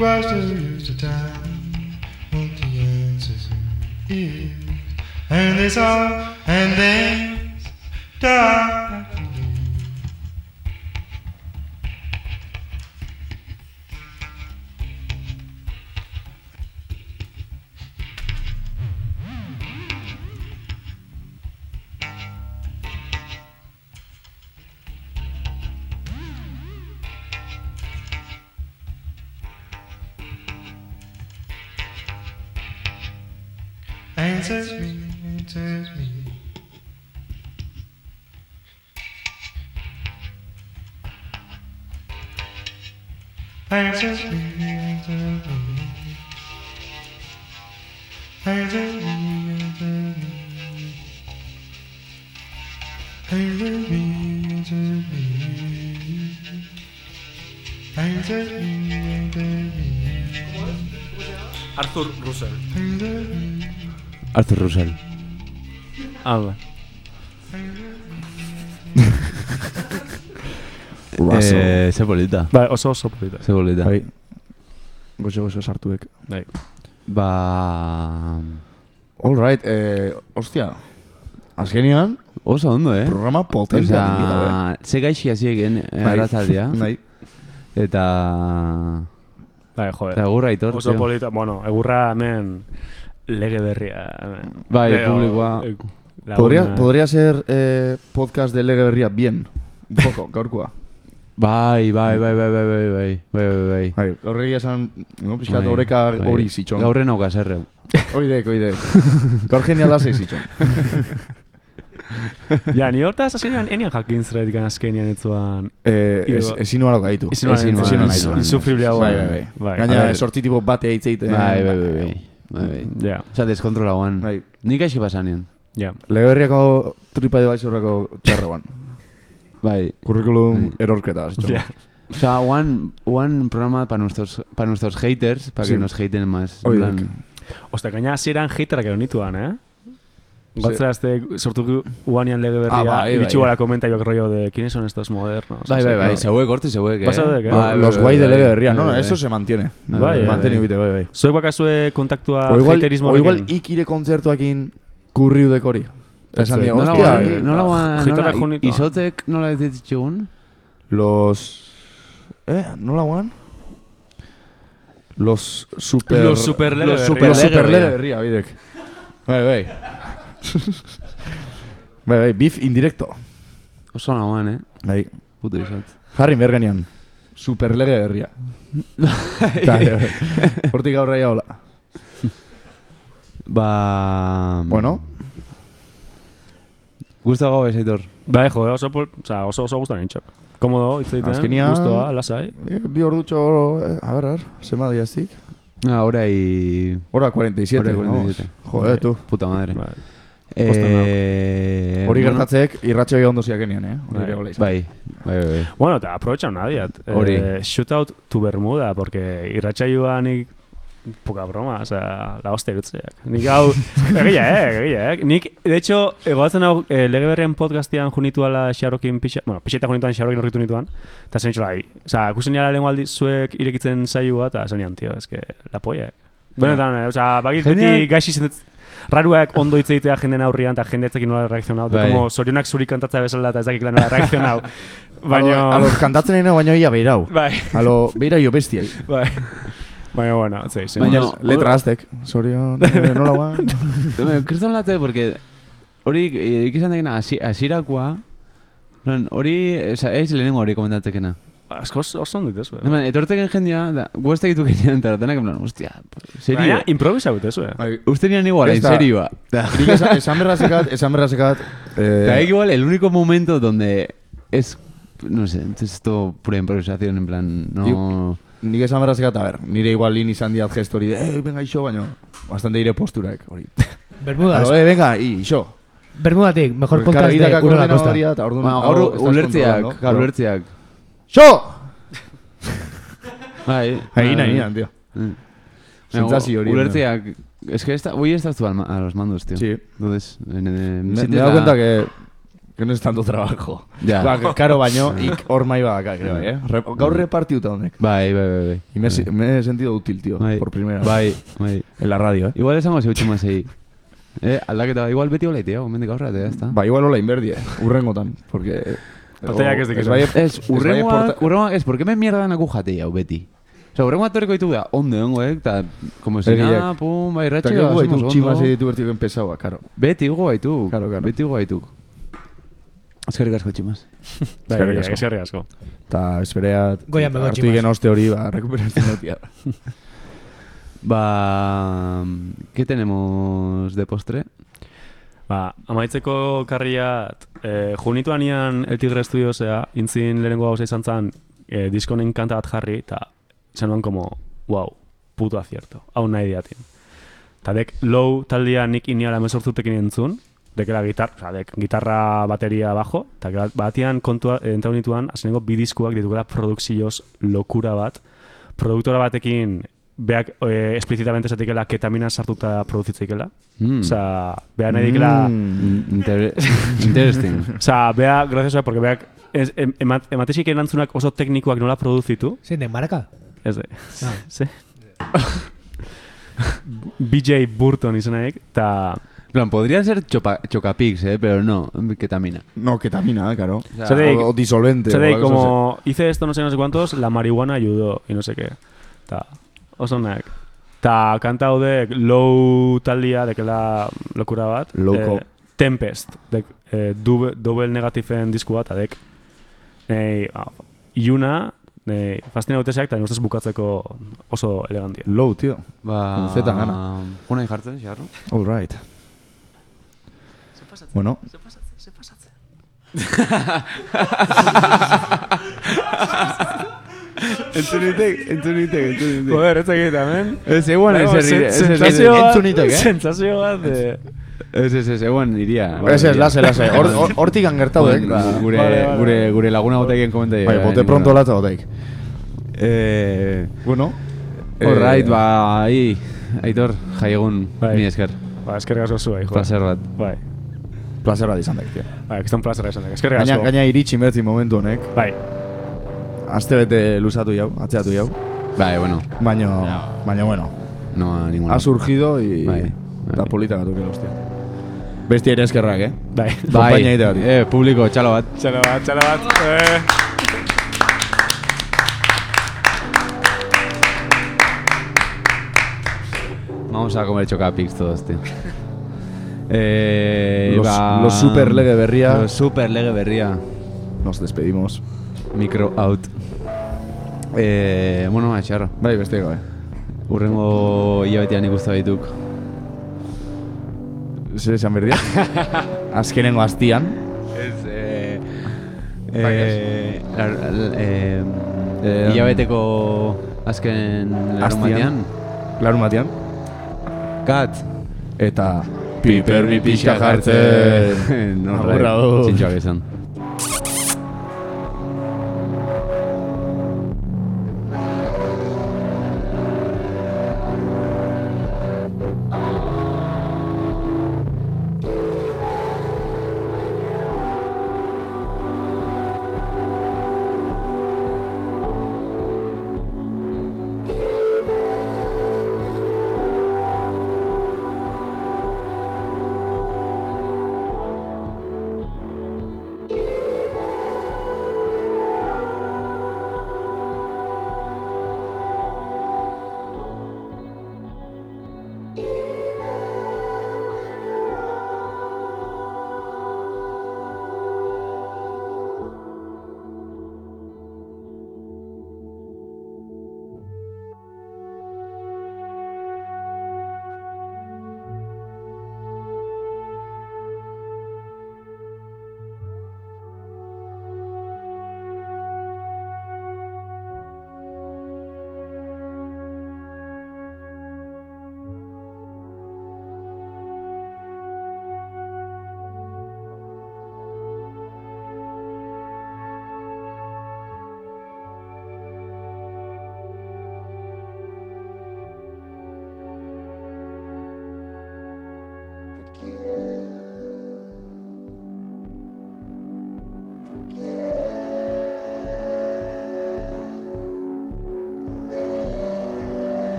words to use the time. What the answers is, and it's all, and then die. Answers me, answers me. Answers me, answers me. Answers me, answers me. Answers me, answers me. Answers me, answers me. Arthur Russell. Answers me. Arthur Russell. Ah, ba. Russell. Eh, ze polita. Bai, oso oso polita. Ze polita. Bai. Gozo gozo sartuek. Bai. Ba... All right, eh, ostia. Azkenian... Oso ondo, eh? Programa eh. potente. Osa, ze gaixi hasi egin eh, Bai. erratzaldia. Bai. Eta... Bai, joder. Eta egurra aitor, Oso tio. polita, bueno, egurra hemen lege berria. Hemen. Bai, Leo, publikoa. eh, laguna. Podría, podría ser eh, podcast de Lege Berria bien. Un poco, gaurkoa. Bai, bai, bai, bai, bai, bai, bai, bai, bai, bai. Gaur egia esan, no, pixka Bai, horreka bai. hori zitxon. Gaur enauka zerreu. Oidek, oidek. Gaur geniala zei zitxon. Ja, ni hortaz azkenean enian jakin zerretik azkenean etzuan. Eh, ez, Igo- ezin nuala gaitu. Ezin nuala gaitu. Ezin nuala Ezin gaitu. nuala Insufriblea Bai, guan. bai, bai. Bai. A Gaina, ver. sorti tipo bate eitzeiten. Bai, bai, bai, bai. Bai, bai. Ja. Osa, deskontrola guan. Bai. Nik aixi pasanien. Ja. Lege Berriako tripa de baixorrako txarroan. Bai. Curriculum erorketa, zitxon. Ya. O sea, one, one programa para nuestros, para nuestros haters, para que Sí. nos haten más. en Oye, plan- Osta, gaina hasieran haterak ero nituan, eh? Ze- Batzera azte sortu guanian lege berria, Ah, bai, bai. iritsi gara komentaiok rollo de ¿Quiénes son estos modernos? Bai, bai, bai, zeuek horti zeuek, eh? Basadek, eh? Bai, bai, Los bai, guai de bai, Lege bai, Berria. No, bai, no, bai. eso se mantiene. Bai, bai, Manteni bai. bite, bai, bai. Zuek bakazue kontaktua O igual, haterismo o igual ikire kontzertuakin kurriu dekori. Esan dio, Nola hostia, guan- eh, nola guan- jitarra nola- junito. Izotek nola ez ditzigun? Los... Eh, nola guan? Los super... Los superlege Los berria. super, los Lege superlege berria. berria, bidek. Bai, bai. bai, bai, beef indirecto. Oso nagoan, eh? Bai. Puto izot. Jarri merganean. Superlege berria. Ta, eh, Hortik aurra hola. Ba... Bueno. Gusto gau ez, Aitor. Bai, jo, oso, pol, o sea, oso, oso gustan intxok. Komodo, hitz mm, egiten, Azkenean- gustoa, lasai. Eh, Bi ordutxo, eh, a ver, a ver, zema diaztik. Ah, hora y... Hora 47, Hora vamos. 47. Joder, tú. Puta madre. Eh, Eh, Hori bueno. gertatzeek irratxo ondo ziakenian, eh? Hori Bai. ere gola izan. Bai, bai, bai. Bueno, eta aprobetxan nadiat. Hori. Eh, shootout tu bermuda, porque irratxaioa nik poca broma, o sea, la hostia irutzeak. Nik hau, egia, eh, egia, eh. Nik, de hecho, egoatzen hau, eh, lege berrien podcastian junituala xarokin pixa, bueno, pixeta junituan xarokin horritu nituan, eta zen itxola, o sea, ikusten nila lehen aldi zuek irekitzen zaiua, eta zen nian, tio, ez que, la polla, eh. Benetan, eh, o sea, bakit beti Jendeak- gaixi zentetz, raruak ondo hitz egitea jenden aurrian, eta jende etzekin nola reakzionau, Bai. eta como zorionak zuri kantatza bezala, eta ez dakik lan nola reakzionau. Baina... Baina... Alo, kantatzen nena baino ia beirau. Bai. Alo, beira jo bestiai. Bai. Baina, bueno, zei, zei. Baina, letra aztek. Zorion, eh, nola guan. Bueno, Kriston late, porque hori eh, ikizan dekena hasi- hasirakoa, non, hori, oza, ez lehenengo hori komentatekena. Asko oso oso ondo ditezu, eh? Hemen, etorteken jendia, da, guazta gitu genean taratanak, en plan, hostia, serio. Baina, improvisa betezu, eh? Uste nian igual, en Esta- serio. Nik esan- esan berrazekat, esan berrazekat... Está Eh, igual el único momento donde es, no sé, es todo pura improvisación, en plan, no... nik esan berrazekat, a ber, nire igual lin izan diat gesto hori, de, eh, venga, iso, baino, bastante ire posturaek, hori. Bermudas. Alo, eh, venga, i, iso. Bermudatik, mejor Porque podcast de kargitaka Urrela koordinadora Costa. dira, eta orduan- Bueno, hau gaur estás ulertzeak, controlando, claro. ulertzeak. Iso! Bai. Ahí bai, nahi, bai. tío. Mm. Sentsazio hori, Ulertzeak, es que esta, hoy estás tú al ma- a los mandos, tío. Sí. Entonces, en, en, Me, me sientes he dado la- cuenta que, que no es tanto trabajo. Ya. Ba, que Karo baino, ik hor mai badaka, creo, eh? Re, gaur repartiuta honek. Bai, bai, bai, bai. Y me, he Bai. si- me he sentido útil, tío, Bai. por primera vez. Bai, bai. En la radio, eh? Igual esango zeutxu mazei. Eh, aldaketa, igual beti hola itea, gomendik aurra, eta jazta. Ba, igual hola inberdie, urrengotan, porque... eh, Arteak ez Ez dikera. bai- Ez, ez bai urrengoak, porta- urrengoak ez, porque me mierdan aku jatei hau beti. Osa, urrengoak torreko ditu da, ondo hongo, eh, eta, como si nada, Egiak. pum, bai, Eta ratxe, gero hacemos gaitu tximas ondo. editu bertiko enpezaua, karo. Beti hugo gaitu, ah, Claro, claro. beti hugo gaitu. Eskerrik asko, tximas. Bai, Eskerrik bai, asko. eskerrik asko. Eta espereat... Goian bego hartu tximas. igen oste hori, ba, rekuperatzen dut, ja. Ba, ¿qué tenemos de postre? Ba, amaitzeko karriat, eh, junituanian El Tigre Studiosea, intzin lehenengo gauza izan zen, eh, diskonen kanta bat jarri, eta zenuan como, wow, puto acierto, hau nahi diatin. Eta dek, low taldea nik iniara mezortzutekin entzun, dekela gitar, oza, dek, gitarra, bateria, bajo, eta gero batian kontua, entau nituan, azkenengo bi diskuak ditukela produkzioz lokura bat, produktora batekin, beak eh, esplizitamente esatikela ketamina sartuta produzitzikela. Mm. Osea, bea nahi dikela... Mm, inter- Hmm. interesting. O sea, vea, gracias a porque vea ez, em, emat, ematesik erantzunak oso teknikoak nola produzitu. Zein den, Ah. maraka? Ez de. Ze? BJ Burton izenaik, eta... plan, podrían ser chopa- chocapics, eh, pero no, ketamina. No, ketamina, claro. Zerei- o, o disolvente. zerei o algo, como hice esto no sé no sé cuántos, la marihuana ayudó y no sé qué. Ta, oso onak. Ta kanta haude low taldea dekela lokura bat. eh, Lowko. Tempest, dek, eh, dube, double negativen disku bat, adek. Nei, ah, iuna, nei, fastina uteseak, eta nire ustez bukatzeko oso elegantia. Low, tío. Ba... Zetan gana. Ah, Una jartzen, xarro? All right. Bueno. Entzunitek, entzunitek, entzunitek. Joder, ez egit, amen. Ez eguan, ez Dago, erri- ez sen- erri- sensazio bat- Entzunitek, eh? Sensazio bat eh. de... Ez, ez, ez, eguan iria. Ez, ez, lase, lase. Hor- hor- hortik han gertatu, eh? Ba, Gure, Vale, vale. gure, gure laguna botekien komentai. Bai, bote pronto latza botaik. Eh, bueno. Alright, eh, ba, ahí, Aitor, jai egun, mi esker. Ba, esker gazo zuei, joder. Placer bat. Bai. Placer bat izan daik, tío. Bai, kiston plazera esan dek. Eskerrik Gaina, asko. gaina iritsi mertzi momentu honek. Bai. Aste bete luzatu jau, atzeatu jau. Bai, bueno. Baina, baina, bueno. No, a ninguna. Ha surgido y... Bai, Da polita gatu que hostia. Besti ere eskerrak, eh? Bai. Kompainia egiteagatik. eh, publiko, txalo bat. Txalo bat, txalo bat. Eh. Vamos a comer chocapix todos, tío. Eh, Los- ba- los super lege berria. Los super lege berria. Nos despedimos. Micro out. Eh, bueno, atxarro. Bai, beste gabe. Urrengo hilabetean ikusta dituk. Zer esan berdia? Azkenengo aztian. Ez, eh... Bakes. Eh... lar- l- eh, um, Hilabeteko azken larun batean. Larun batean. Kat. Eta... Pipermi pixka jartzen. Agurra hor. Txintxoak esan.